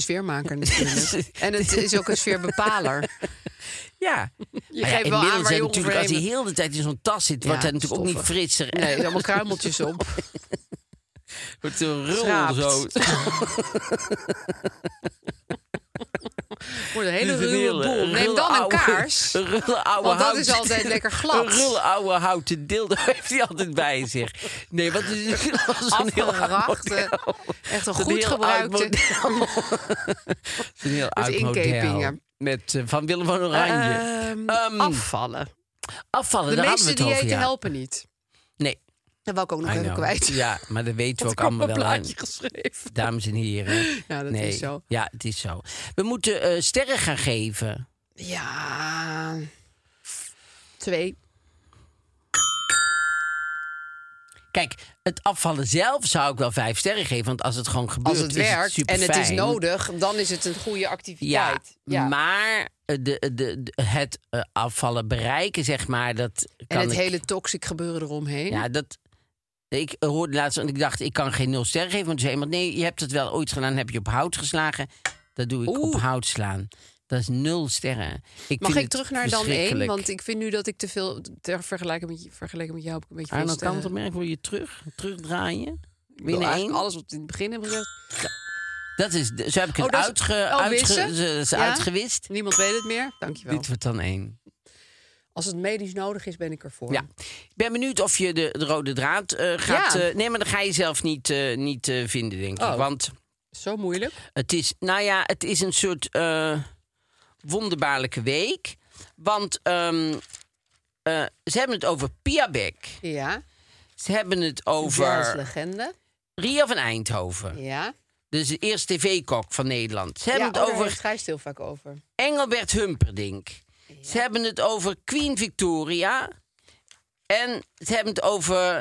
sfeermaker natuurlijk. en het is ook een sfeerbepaler. Ja. Je Maar ja, geeft wel aan inmiddels waar hè, je natuurlijk, als hij onvreemd... heel de tijd in zo'n tas zit, wordt Ja, hij natuurlijk ook niet stoffig. frisser. Nee, er zijn allemaal kruimeltjes op. wordt zo'n rul Schraapt. zo. Voor een hele Dus een ruwe hele boel. Neem rulle dan een oude- kaars. Een rulle oude Want dat houten- is altijd lekker glad. Een rulle oude houten dildo heeft hij altijd bij zich. Nee, wat is het? Dat is een heel oud Afgerachte, model. echt een Een goed heel oud gebruikte... model. Een heel oud model. dus inkepingen. Met eh, Van Willem van Oranje. Ehm, Ehm, afvallen. Afvallen, De daar hadden we meeste het over, ja. diëten helpen niet. Nee, Dat wou ik ook nog I even know. kwijt. Ja, maar dat weten we ook Want ik allemaal heb een wel aan. plaatje geschreven. Dames en heren. Ja, dat nee. is zo. Ja, het is zo. We moeten eh, sterren gaan geven. Ja. Twee. Kijk, het afvallen zelf zou ik wel vijf sterren geven. Want als het gewoon gebeurt, Als het is werkt het en het is superfijn. nodig, dan is het een goede Ja, activiteit. maar eh, de, de, de- het eh, afvallen bereiken, zeg maar, dat kan en het ik- hele toxic gebeuren eromheen. Ja, dat... Ik hoorde laatst, want ik dacht, ik kan geen nul sterren geven. Want toen zei iemand, nee, je hebt het wel ooit gedaan. Heb je op hout geslagen? Dat doe ik op Oeh. hout slaan. Dat is nul sterren. Ik Mag vind ik het terug naar dan één? verschrikkelijk. Want ik vind nu dat ik te veel, ter vergelijking met, je- vergeleken met jou, heb ik een beetje veel Arno sterren. Kantelmerk, wil je terug? Terugdraaien? Ik wil Binnen eigenlijk één? Ah. alles wat we in het begin hebben gezegd. Dat is, de- zo heb ik het Oh, dat is- uitge, oh, uitge, wissen? ze- ze Ja? uitgewist. Niemand weet het meer. Dankjewel. Dit wordt dan één. Als het medisch nodig is, ben ik ervoor. Ja. Ik ben benieuwd of je de, de rode draad eh, gaat... Ja. eh, nee, maar dan ga je zelf niet, eh, niet eh, vinden, denk Oh. ik. Want Zo moeilijk. het is, nou ja, het is een soort eh, wonderbaarlijke week. Want ehm, eh, ze hebben het over Piabek. Ja. Ze hebben het Jazz over legende. Ria van Eindhoven. Ja. Dus de eerste tv-kok van Nederland. Ze hebben ja, oh, het over schrijft heel vaak over. Engelbert Humperdinck. Ze hebben het over Queen Victoria. En ze hebben het over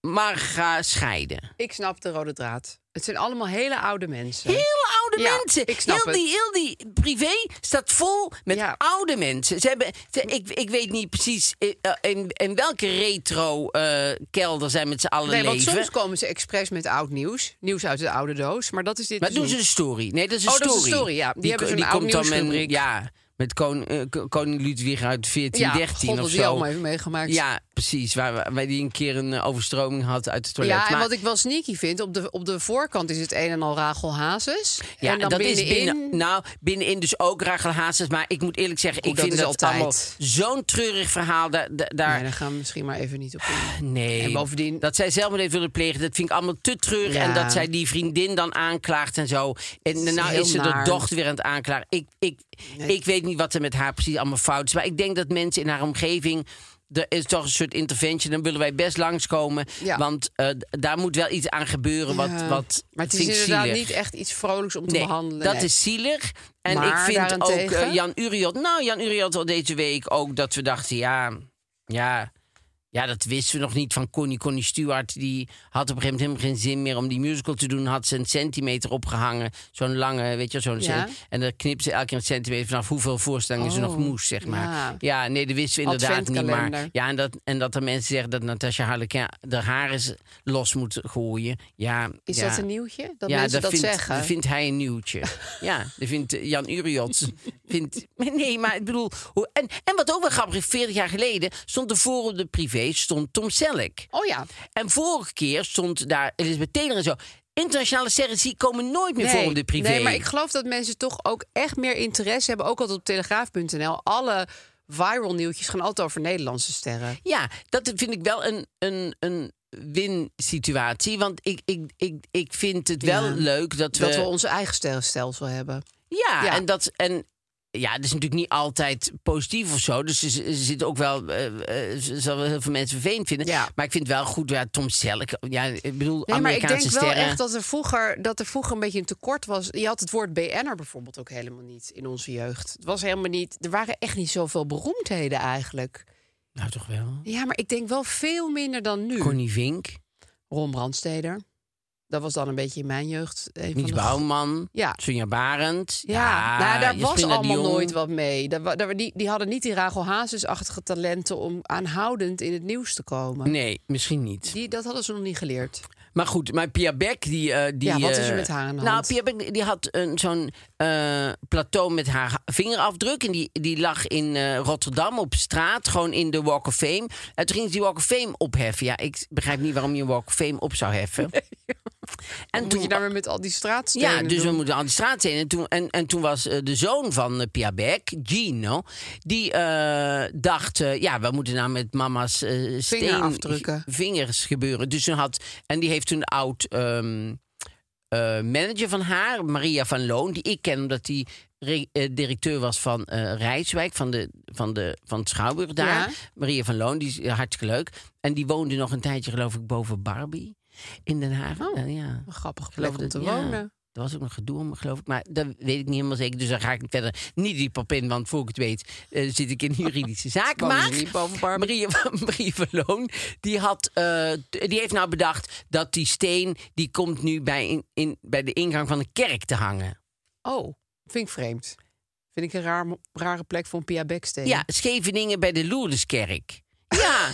Marga Scheiden. Ik snap de rode draad. Het zijn allemaal hele oude mensen. Heel oude Ja, mensen. ik snap heel, die, het. heel die privé staat vol met Ja. oude mensen. Ze hebben, ze- ik, ik weet niet precies eh, eh, in, in welke retro-kelder zij met z'n allen Nee, want leven. soms komen ze expres met oud nieuws. Nieuws uit de oude doos. Maar dat is dit Maar dus doen ze niet. een story? Nee, dat is een Oh, dat story. is een story, ja. Die hebben zo'n die oud komt dan met, nieuwsrubriek. Ja, met koning, eh, ko- koning Ludwig uit Ja, 1413 God, of dat zo. die allemaal heeft meegemaakt. Ja, precies. Waar, waar- waar die een keer een eh, overstroming had uit het toilet. Ja, en Maar- wat ik wel sneaky vind, op de, op de voorkant is het een en al Rachel Hazes. ja, en dan dat binnenin... is binnen, nou, binnenin dus ook Rachel Hazes. Maar ik moet eerlijk zeggen, Goed, ik dat vind is dat altijd. allemaal zo'n treurig verhaal. Daar, daar, Nee, daar gaan we misschien maar even niet op in. Nee. En bovendien- Dat zij zelfmoord willen plegen, dat vind ik allemaal te treurig. Ja. En dat zij die vriendin dan aanklaagt en zo. En is nou heel is ze de naar. dochter weer aan het aanklagen. Ik, ik, ik weet niet wat er met haar precies allemaal fout is. Maar ik denk dat mensen in haar omgeving... Er is toch een soort intervention. Dan willen wij best langskomen. Ja. Want eh, d- daar moet wel iets aan gebeuren wat, Ja. wat maar het is vind ik inderdaad zielig. niet echt iets vrolijks om te Nee, behandelen. dat nee. is zielig. En Maar ik vind ook eh, daarentegen? Jan Uriot... Nou, Jan Uriot al deze week ook dat we dachten... Ja, ja, ja, dat wisten we nog niet van Connie. Connie Stewart die had op een gegeven moment helemaal geen zin meer om die musical te doen. Had ze een centimeter opgehangen. Zo'n lange, weet je wel, zo'n Ja. cent- En dan knipte ze elke keer een centimeter vanaf hoeveel voorstellingen ze Oh, nog moest, zeg maar. ja. Ja, nee, dat wisten we inderdaad niet. Maar, Adventkalender. ja, en dat, en dat er mensen zeggen dat Natasha Harlequin de haar eens los moet gooien. Ja, Is ja dat een nieuwtje? Dat mensen dat vindt, zeggen? dat vindt hij een nieuwtje. ja, dat vindt eh, Jan Uriot. vindt, nee, maar ik bedoel... hoe- En, en wat ook wel grappig is, 40 jaar geleden stond er voor op de privé stond Tom Selleck. Oh ja. En vorige keer stond daar Elisabeth Taylor en zo. Internationale sterren zie- komen nooit meer voor op de privé. Nee, maar ik geloof dat mensen toch ook echt meer interesse hebben. Ook altijd op telegraaf.nl. Alle viral nieuwtjes gaan altijd over Nederlandse sterren. Ja, dat vind ik wel een, een, een win-situatie. Want ik, ik, ik, ik vind het wel Ja. leuk dat we... Dat we onze eigen sterrenstelsel hebben. Ja, Ja. en dat. En, ja, het is natuurlijk niet altijd positief of zo. Dus er, z- er zitten ook wel, eh, eh, ze zal wel heel veel mensen vervelend vinden. Ja. Maar ik vind wel goed, ja, Tom Selleck. Ja, ik bedoel, Nee, maar ik Amerikaanse denk wel sterren. echt dat er, vroeger, dat er vroeger een beetje een tekort was. Je had het woord BN'er bijvoorbeeld ook helemaal niet in onze jeugd. Het was helemaal niet... Er waren echt niet zoveel beroemdheden eigenlijk. Nou, toch wel. Ja, maar ik denk wel veel minder dan nu. Connie Vink. Ron Brandsteder. Dat was dan een beetje in mijn jeugd. Een van Niels de- Bouwman, Ja. Sonja Barend. Ja, nou, daar was Jaspinda de allemaal Jong. nooit wat mee. Daar, wa- daar, die, die hadden niet die Rachel Hazes-achtige talenten om aanhoudend in het nieuws te komen. Nee, misschien niet. Die, dat hadden ze nog niet geleerd. Maar goed, maar Pia Beck, die... eh, die Ja, wat is er eh, met haar aan de Nou, hand? Pia Beck die had een zo'n eh, plateau met haar ha- vingerafdruk. En die, die lag in eh, Rotterdam op straat, gewoon in de Walk of Fame. En toen ging ze die Walk of Fame opheffen. Ja, ik begrijp niet waarom je een Walk of Fame op zou heffen. En Moet je daar weer met al die straatstenen Ja, dus we doen? moeten aan de straat zijn. En toen, en, en toen was eh, de zoon van eh, Pia Beck, Gino, die eh, dacht... eh, ja, we moeten nou met mama's eh steen- Vingerafdrukken. vingers gebeuren. Dus toen had... En die heeft toen een oud ehm, eh, manager van haar, Maria van Loon... die ik ken omdat die re- eh, directeur was van eh, Rijswijk, van, de, van, de, van het Schouwburg daar. Ja. Maria van Loon, die is eh, hartstikke leuk. En die woonde nog een tijdje, geloof ik, boven Barbie in Den Haag. Oh. Eh, ja. Een grappige Ik geloof plek om te dat- ja. wonen. Er was ook nog gedoe om, geloof ik. Maar dat weet ik niet helemaal zeker. Dus daar ga ik verder niet diep op in. Want voor ik het weet eh, zit ik in juridische zaken. Wonen maar ze niet boven Barbie? Marie, Marie Verloon, die, had, eh, t- die heeft nou bedacht... dat die steen, die komt nu bij, in, in, bij de ingang van de kerk te hangen. Oh, vind ik vreemd. Vind ik een raar, rare plek voor een Pia Becksteen. Ja, Scheveningen bij de Lourdeskerk. Ja,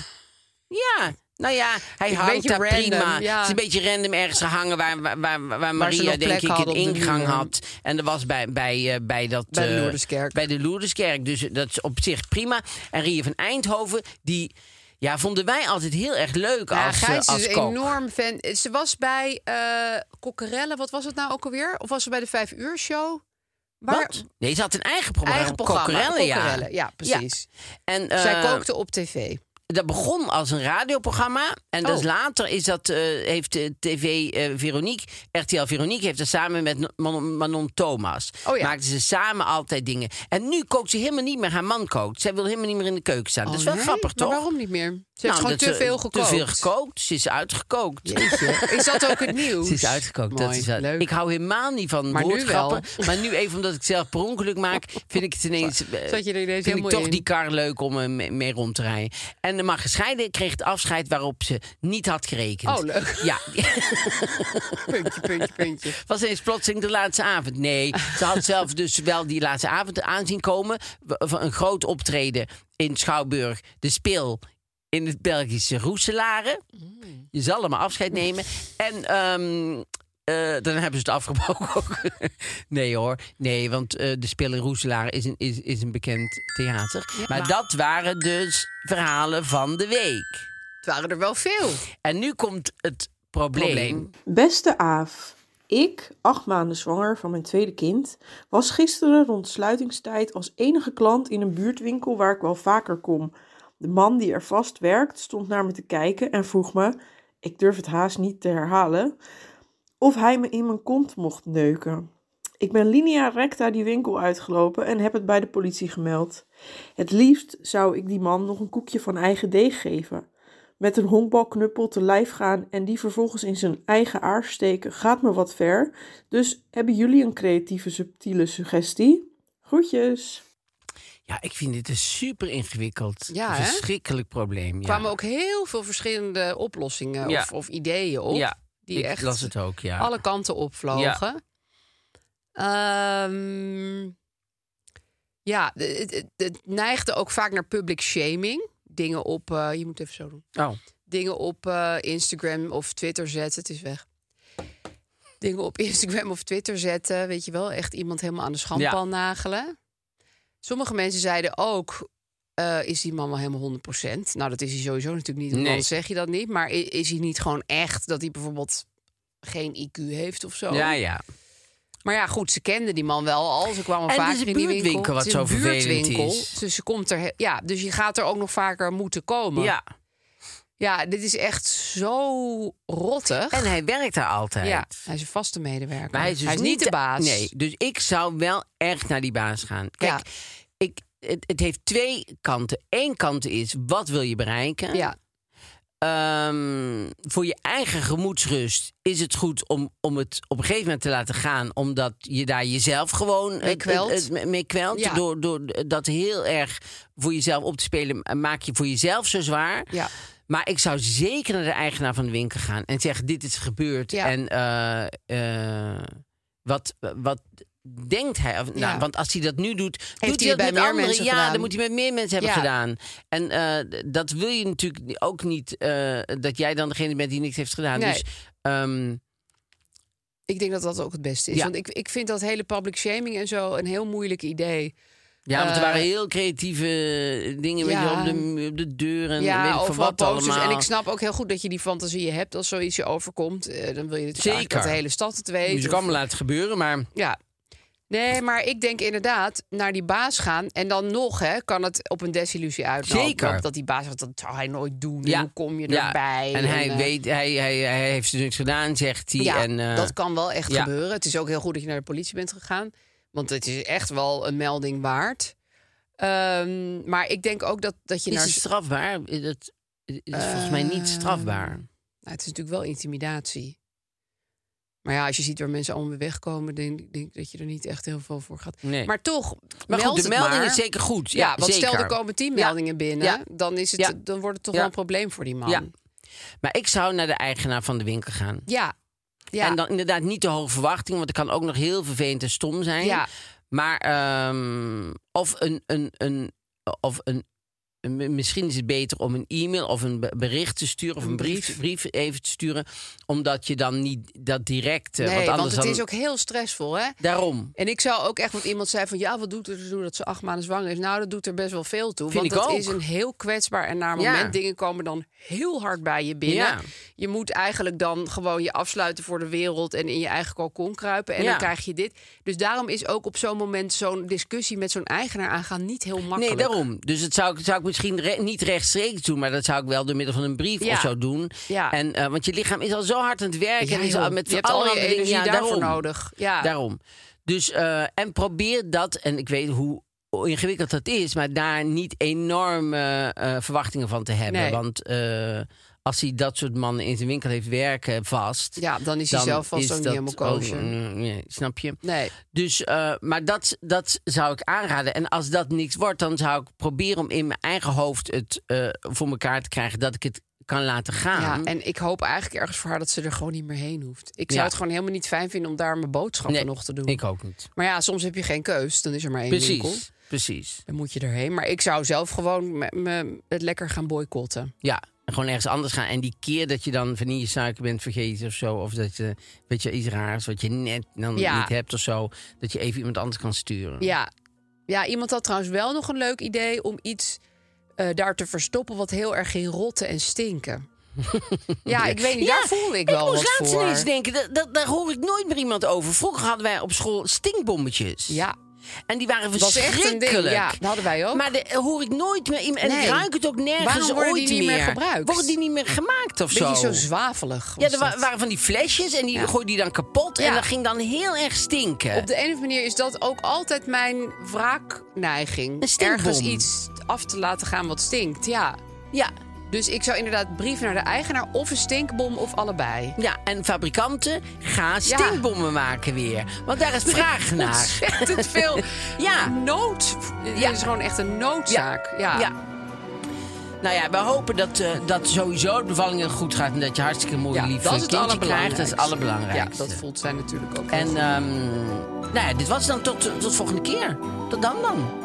ja. Nou ja, hij Een hangt beetje daar random, prima. ja. Het is een beetje random ergens gehangen waar, waar, waar, waar Maria nog denk plek ik hadden een op de ingang muur. had. En dat was bij, bij, eh, bij dat... Bij de eh, Lourdeskerk. Bij de Lourdeskerk. Dus dat is op zich prima. En Ria van Eindhoven, die ja, vonden wij altijd heel erg leuk Ja, als, eh, Gijs als is een kok. enorm fan. Ze was bij eh Kokkerellen, wat was het nou ook alweer? Of was ze bij de Vijf Uur Show? Waar- Wat? Nee, ze had een eigen programma. Eigen programma. Kokkerellen, ja. Kokkerellen, ja, precies. En, Zij eh, kookte op tv. dat begon als een radioprogramma. En dus Oh. later is dat, eh, heeft eh, TV eh Veronique, RTL Veronique, heeft dat samen met Manon, Manon Thomas. Oh ja. Maakten ze samen altijd dingen. En nu kookt ze helemaal niet meer. Haar man kookt. Zij wil helemaal niet meer in de keuken staan. dat is wel Oh, nee? grappig, Maar toch? waarom niet meer? Ze heeft Nou, gewoon dat te ze veel gekookt. Te veel gekookt. Ze is uitgekookt. Jeetje. Is dat ook het nieuws? Ze is uitgekookt. Mooi, dat is wel. leuk. Ik hou helemaal niet van Maar nu woordgrappen. Maar nu even omdat ik zelf per ongeluk maak, vind ik het ineens. eh, Zat je er ineens vind ik helemaal toch in? die kar leuk om eh, mee, mee rond te rijden. En de gescheiden kreeg het afscheid waarop ze niet had gerekend. Oh, leuk. Ja, Puntje, puntje, puntje. was ineens plotseling de laatste avond. Nee, ze had zelf dus wel die laatste avond aanzien komen. w- Van een groot optreden in Schouwburg. De speel in het Belgische Roeselare. Je zal er maar afscheid nemen. En ehm, eh, dan hebben ze het afgebroken ook. nee hoor, nee, want eh, de speel in Roeselare is een, is, is een bekend theater. maar dat waren dus verhalen van de week. Het waren er wel veel. En nu komt het probleem. Probleem. Beste Aaf, ik, acht maanden zwanger van mijn tweede kind, was gisteren rond sluitingstijd als enige klant in een buurtwinkel waar ik wel vaker kom. De man die er vast werkt stond naar me te kijken en vroeg me, ik durf het haast niet te herhalen, of hij me in mijn kont mocht neuken. Ik ben linea recta die winkel uitgelopen en heb het bij de politie gemeld. Het liefst zou ik die man nog een koekje van eigen deeg geven met een honkbalknuppel te lijf gaan en die vervolgens in zijn eigen aars steken, gaat me wat ver. Dus hebben jullie een creatieve, subtiele suggestie? Groetjes! Ja, ik vind dit een super ingewikkeld, Ja, hè? verschrikkelijk probleem. Ja. Er kwamen ook heel veel verschillende oplossingen Ja. of, of ideeën op. Ja, die ik echt las het ook, ja. alle kanten opvlogen. Ehm, ja, het, het- het neigde ook vaak naar public shaming. Dingen op, eh, je moet even zo doen. Oh, Dingen op eh, Instagram of Twitter zetten. Het is weg. Dingen op Instagram of Twitter zetten. Weet je wel, echt iemand helemaal aan de schandpaal nagelen. Sommige mensen zeiden ook. eh, is die man wel helemaal 100%? Nou, dat is hij sowieso natuurlijk niet. want Nee. Anders zeg je dat niet. Maar i- is hij niet gewoon echt dat hij bijvoorbeeld geen IQ heeft of zo? ja, ja. Maar ja, goed, ze kenden die man wel al. Ze kwamen En het vaak is een in die winkel. buurtwinkel, wat Het is een zo vervelend buurtwinkel, is. Dus, ze komt er, he- ja, dus je gaat er ook nog vaker moeten komen. ja. Ja, dit is echt zo rottig. En hij werkt daar altijd. ja, hij is een vaste medewerker. Maar hij is, dus niet de baas. Nee, dus ik zou wel echt naar die baas gaan. Kijk, Ja. ik, het, het heeft twee kanten. Eén kant is, wat wil je bereiken? Ja, Ehm, voor je eigen gemoedsrust is het goed om, om het op een gegeven moment te laten gaan. Omdat je daar jezelf gewoon eh, kwelt. eh, eh, mee kwelt. Ja. Door, door dat heel erg voor jezelf op te spelen, eh, maak je voor jezelf zo zwaar. ja. Maar ik zou zeker naar de eigenaar van de winkel gaan en zeggen: Dit is gebeurd. Ja. En eh, eh, wat, wat denkt hij? Of, nou, Ja. Want als hij dat nu doet, doet hij hij dat het bij met meer anderen. mensen ja, gedaan? dan moet hij met meer mensen hebben Ja. gedaan. En eh, d- dat wil je natuurlijk ook niet eh, dat jij dan degene bent die niks heeft gedaan. Nee. Dus ehm, Ik denk dat dat ook het beste is. Ja. Want ik, ik vind dat hele public shaming en zo een heel moeilijk idee. ja, want er Eh, waren heel creatieve dingen weet je, ja. op, de, op de deur en ja, weet ik veel overal wat posters. allemaal. En ik snap ook heel goed dat je die fantasieën hebt als zoiets je overkomt. Eh, dan wil je natuurlijk eigenlijk Zeker. dat de hele stad het weet. Dus ik Of- kan me laten gebeuren, maar Ja. Nee, maar ik denk inderdaad naar die baas gaan. En dan nog hè, kan het op een desillusie uitlopen. Zeker. Want Dat die baas zegt, dat zou hij nooit doen. En Ja. hoe kom je Ja. erbij? En hij eh, weet, hij, hij, hij heeft dus niks gedaan, zegt hij. Ja, en, eh, dat kan wel echt ja. gebeuren. Het is ook heel goed dat je naar de politie bent gegaan. Want het is echt wel een melding waard. Ehm, maar ik denk ook dat, dat je is naar... Eh, het strafbaar? Is Het, het is volgens mij niet strafbaar. Nou, het is natuurlijk wel intimidatie. Maar ja, als je ziet waar mensen allemaal mee wegkomen... denk denk ik dat je er niet echt heel veel voor gaat. Nee. Maar toch, Maar meld goed, de het melding maar. is zeker goed. Ja, Ja, want stel er zeker. komen tien Ja. meldingen binnen, Ja. dan, is het, Ja. dan wordt het toch Ja. wel een probleem voor die man. Ja. Maar ik zou naar de eigenaar van de winkel gaan. ja. Ja. En dan inderdaad niet te hoge verwachting, want het kan ook nog heel vervelend en stom zijn. Ja. Maar ehm, of een. een, een, of een een- Misschien is het beter om een e-mail of een be- bericht te sturen of Een een brief, brief even te sturen, omdat je dan niet dat direct. eh, nee, want want, anders het dan- is ook heel stressvol, hè? Daarom. En ik zou ook echt, want iemand zei van ja, wat doet het er toe dat ze acht maanden zwanger is? Nou, dat doet er best wel veel toe. Vind want ik dat ook. is een heel kwetsbaar en naar Ja. moment. Dingen komen dan heel hard bij je binnen. Ja. Je moet eigenlijk dan gewoon je afsluiten voor de wereld en in je eigen balkon kruipen. En Ja. dan krijg je dit. Dus daarom is ook op zo'n moment zo'n discussie met zo'n eigenaar aangaan niet heel makkelijk. Nee, daarom. Dus dat zou, ik- zou ik misschien re- niet rechtstreeks doen, maar dat zou ik wel door middel van een brief Ja. of zo doen. Ja. En, eh, want je lichaam is al zo hard aan het werken. Ja, en is joh. al met je hebt al je allerhande dingen- energie ja, daarvoor daarom. nodig. Ja. Daarom. Dus, eh, en probeer dat, en ik weet hoe ingewikkeld dat is, maar daar niet enorme eh, verwachtingen van te hebben. Nee. Want eh, als hij dat soort mannen in zijn winkel heeft werken vast. Ja, dan is hij zelf vast ook niet dat helemaal kosher. mm, nee, snap je? Nee. Dus, eh, maar dat, dat zou ik aanraden. En als dat niks wordt, dan zou ik proberen om in mijn eigen hoofd het eh, voor elkaar te krijgen dat ik het kan laten gaan. Ja, en ik hoop eigenlijk ergens voor haar dat ze er gewoon niet meer heen hoeft. Ik zou Ja. het gewoon helemaal niet fijn vinden om daar mijn boodschappen Nee, nog te doen. Ik ook niet. Maar ja, soms heb je geen keus. Dan is er maar één winkel. Precies. Precies. Dan moet je erheen. Maar ik zou zelf gewoon me, me- het lekker gaan boycotten. Ja. En gewoon ergens anders gaan. En die keer dat je dan vanillesuiker bent vergeten of zo. Of dat je, weet je, iets raars wat je net dan Ja. niet hebt of zo. Dat je even iemand anders kan sturen. Ja. ja, iemand had trouwens wel nog een leuk idee om iets eh, daar te verstoppen... wat heel erg ging rotten en stinken. ja, ik weet niet. Ja, daar voelde ik wel moest wat laatst voor. ineens denken, dat, dat, daar hoor ik nooit meer iemand over. Vroeger hadden wij op school stinkbommetjes. Ja, En die waren was echt een ding, verschrikkelijk. ja. Dat hadden wij ook. Maar de, hoor ik nooit meer. iemand- En Nee. ik ruik het ook nergens Waarom worden die ooit niet meer meer. gebruikt? Worden die niet meer gemaakt of beetje zo? zo zwavelig. ja, was er wa- dat. waren van die flesjes en die gooiden die dan kapot. Ja. En dat ging dan heel erg stinken. Op de een of andere manier is dat ook altijd mijn Een wraakneiging. stinkbom. Ergens iets af te laten gaan wat stinkt, ja. Ja. Dus ik zou inderdaad brief naar de eigenaar of een stinkbom of allebei. ja, en fabrikanten, ga stinkbommen maken weer. Want daar is vraag naar. Ontzettend veel Ja. nood. Het Ja. is gewoon echt een noodzaak. Ja. Ja. Nou ja, we hopen dat, eh, dat sowieso de bevalling goed gaat. En dat je hartstikke mooi Ja, lief dat een is het kindje krijgt. allerbelangrijkste. Dat is het allerbelangrijkste. Ja, dat voelt zij natuurlijk ook. En heel goed. ehm, nou ja, dit was het dan tot, tot volgende keer. Tot dan dan.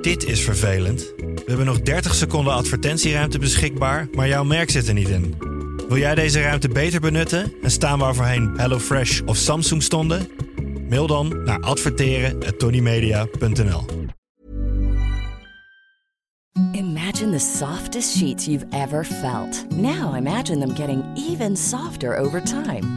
Dit is vervelend. We hebben nog 30 seconden advertentieruimte beschikbaar, maar jouw merk zit er niet in. Wil jij deze ruimte beter benutten en staan waar voorheen HelloFresh of Samsung stonden? Mail dan naar adverteren@tonymedia.nl. Imagine the softest sheets you've ever felt. Now imagine them getting even softer over time.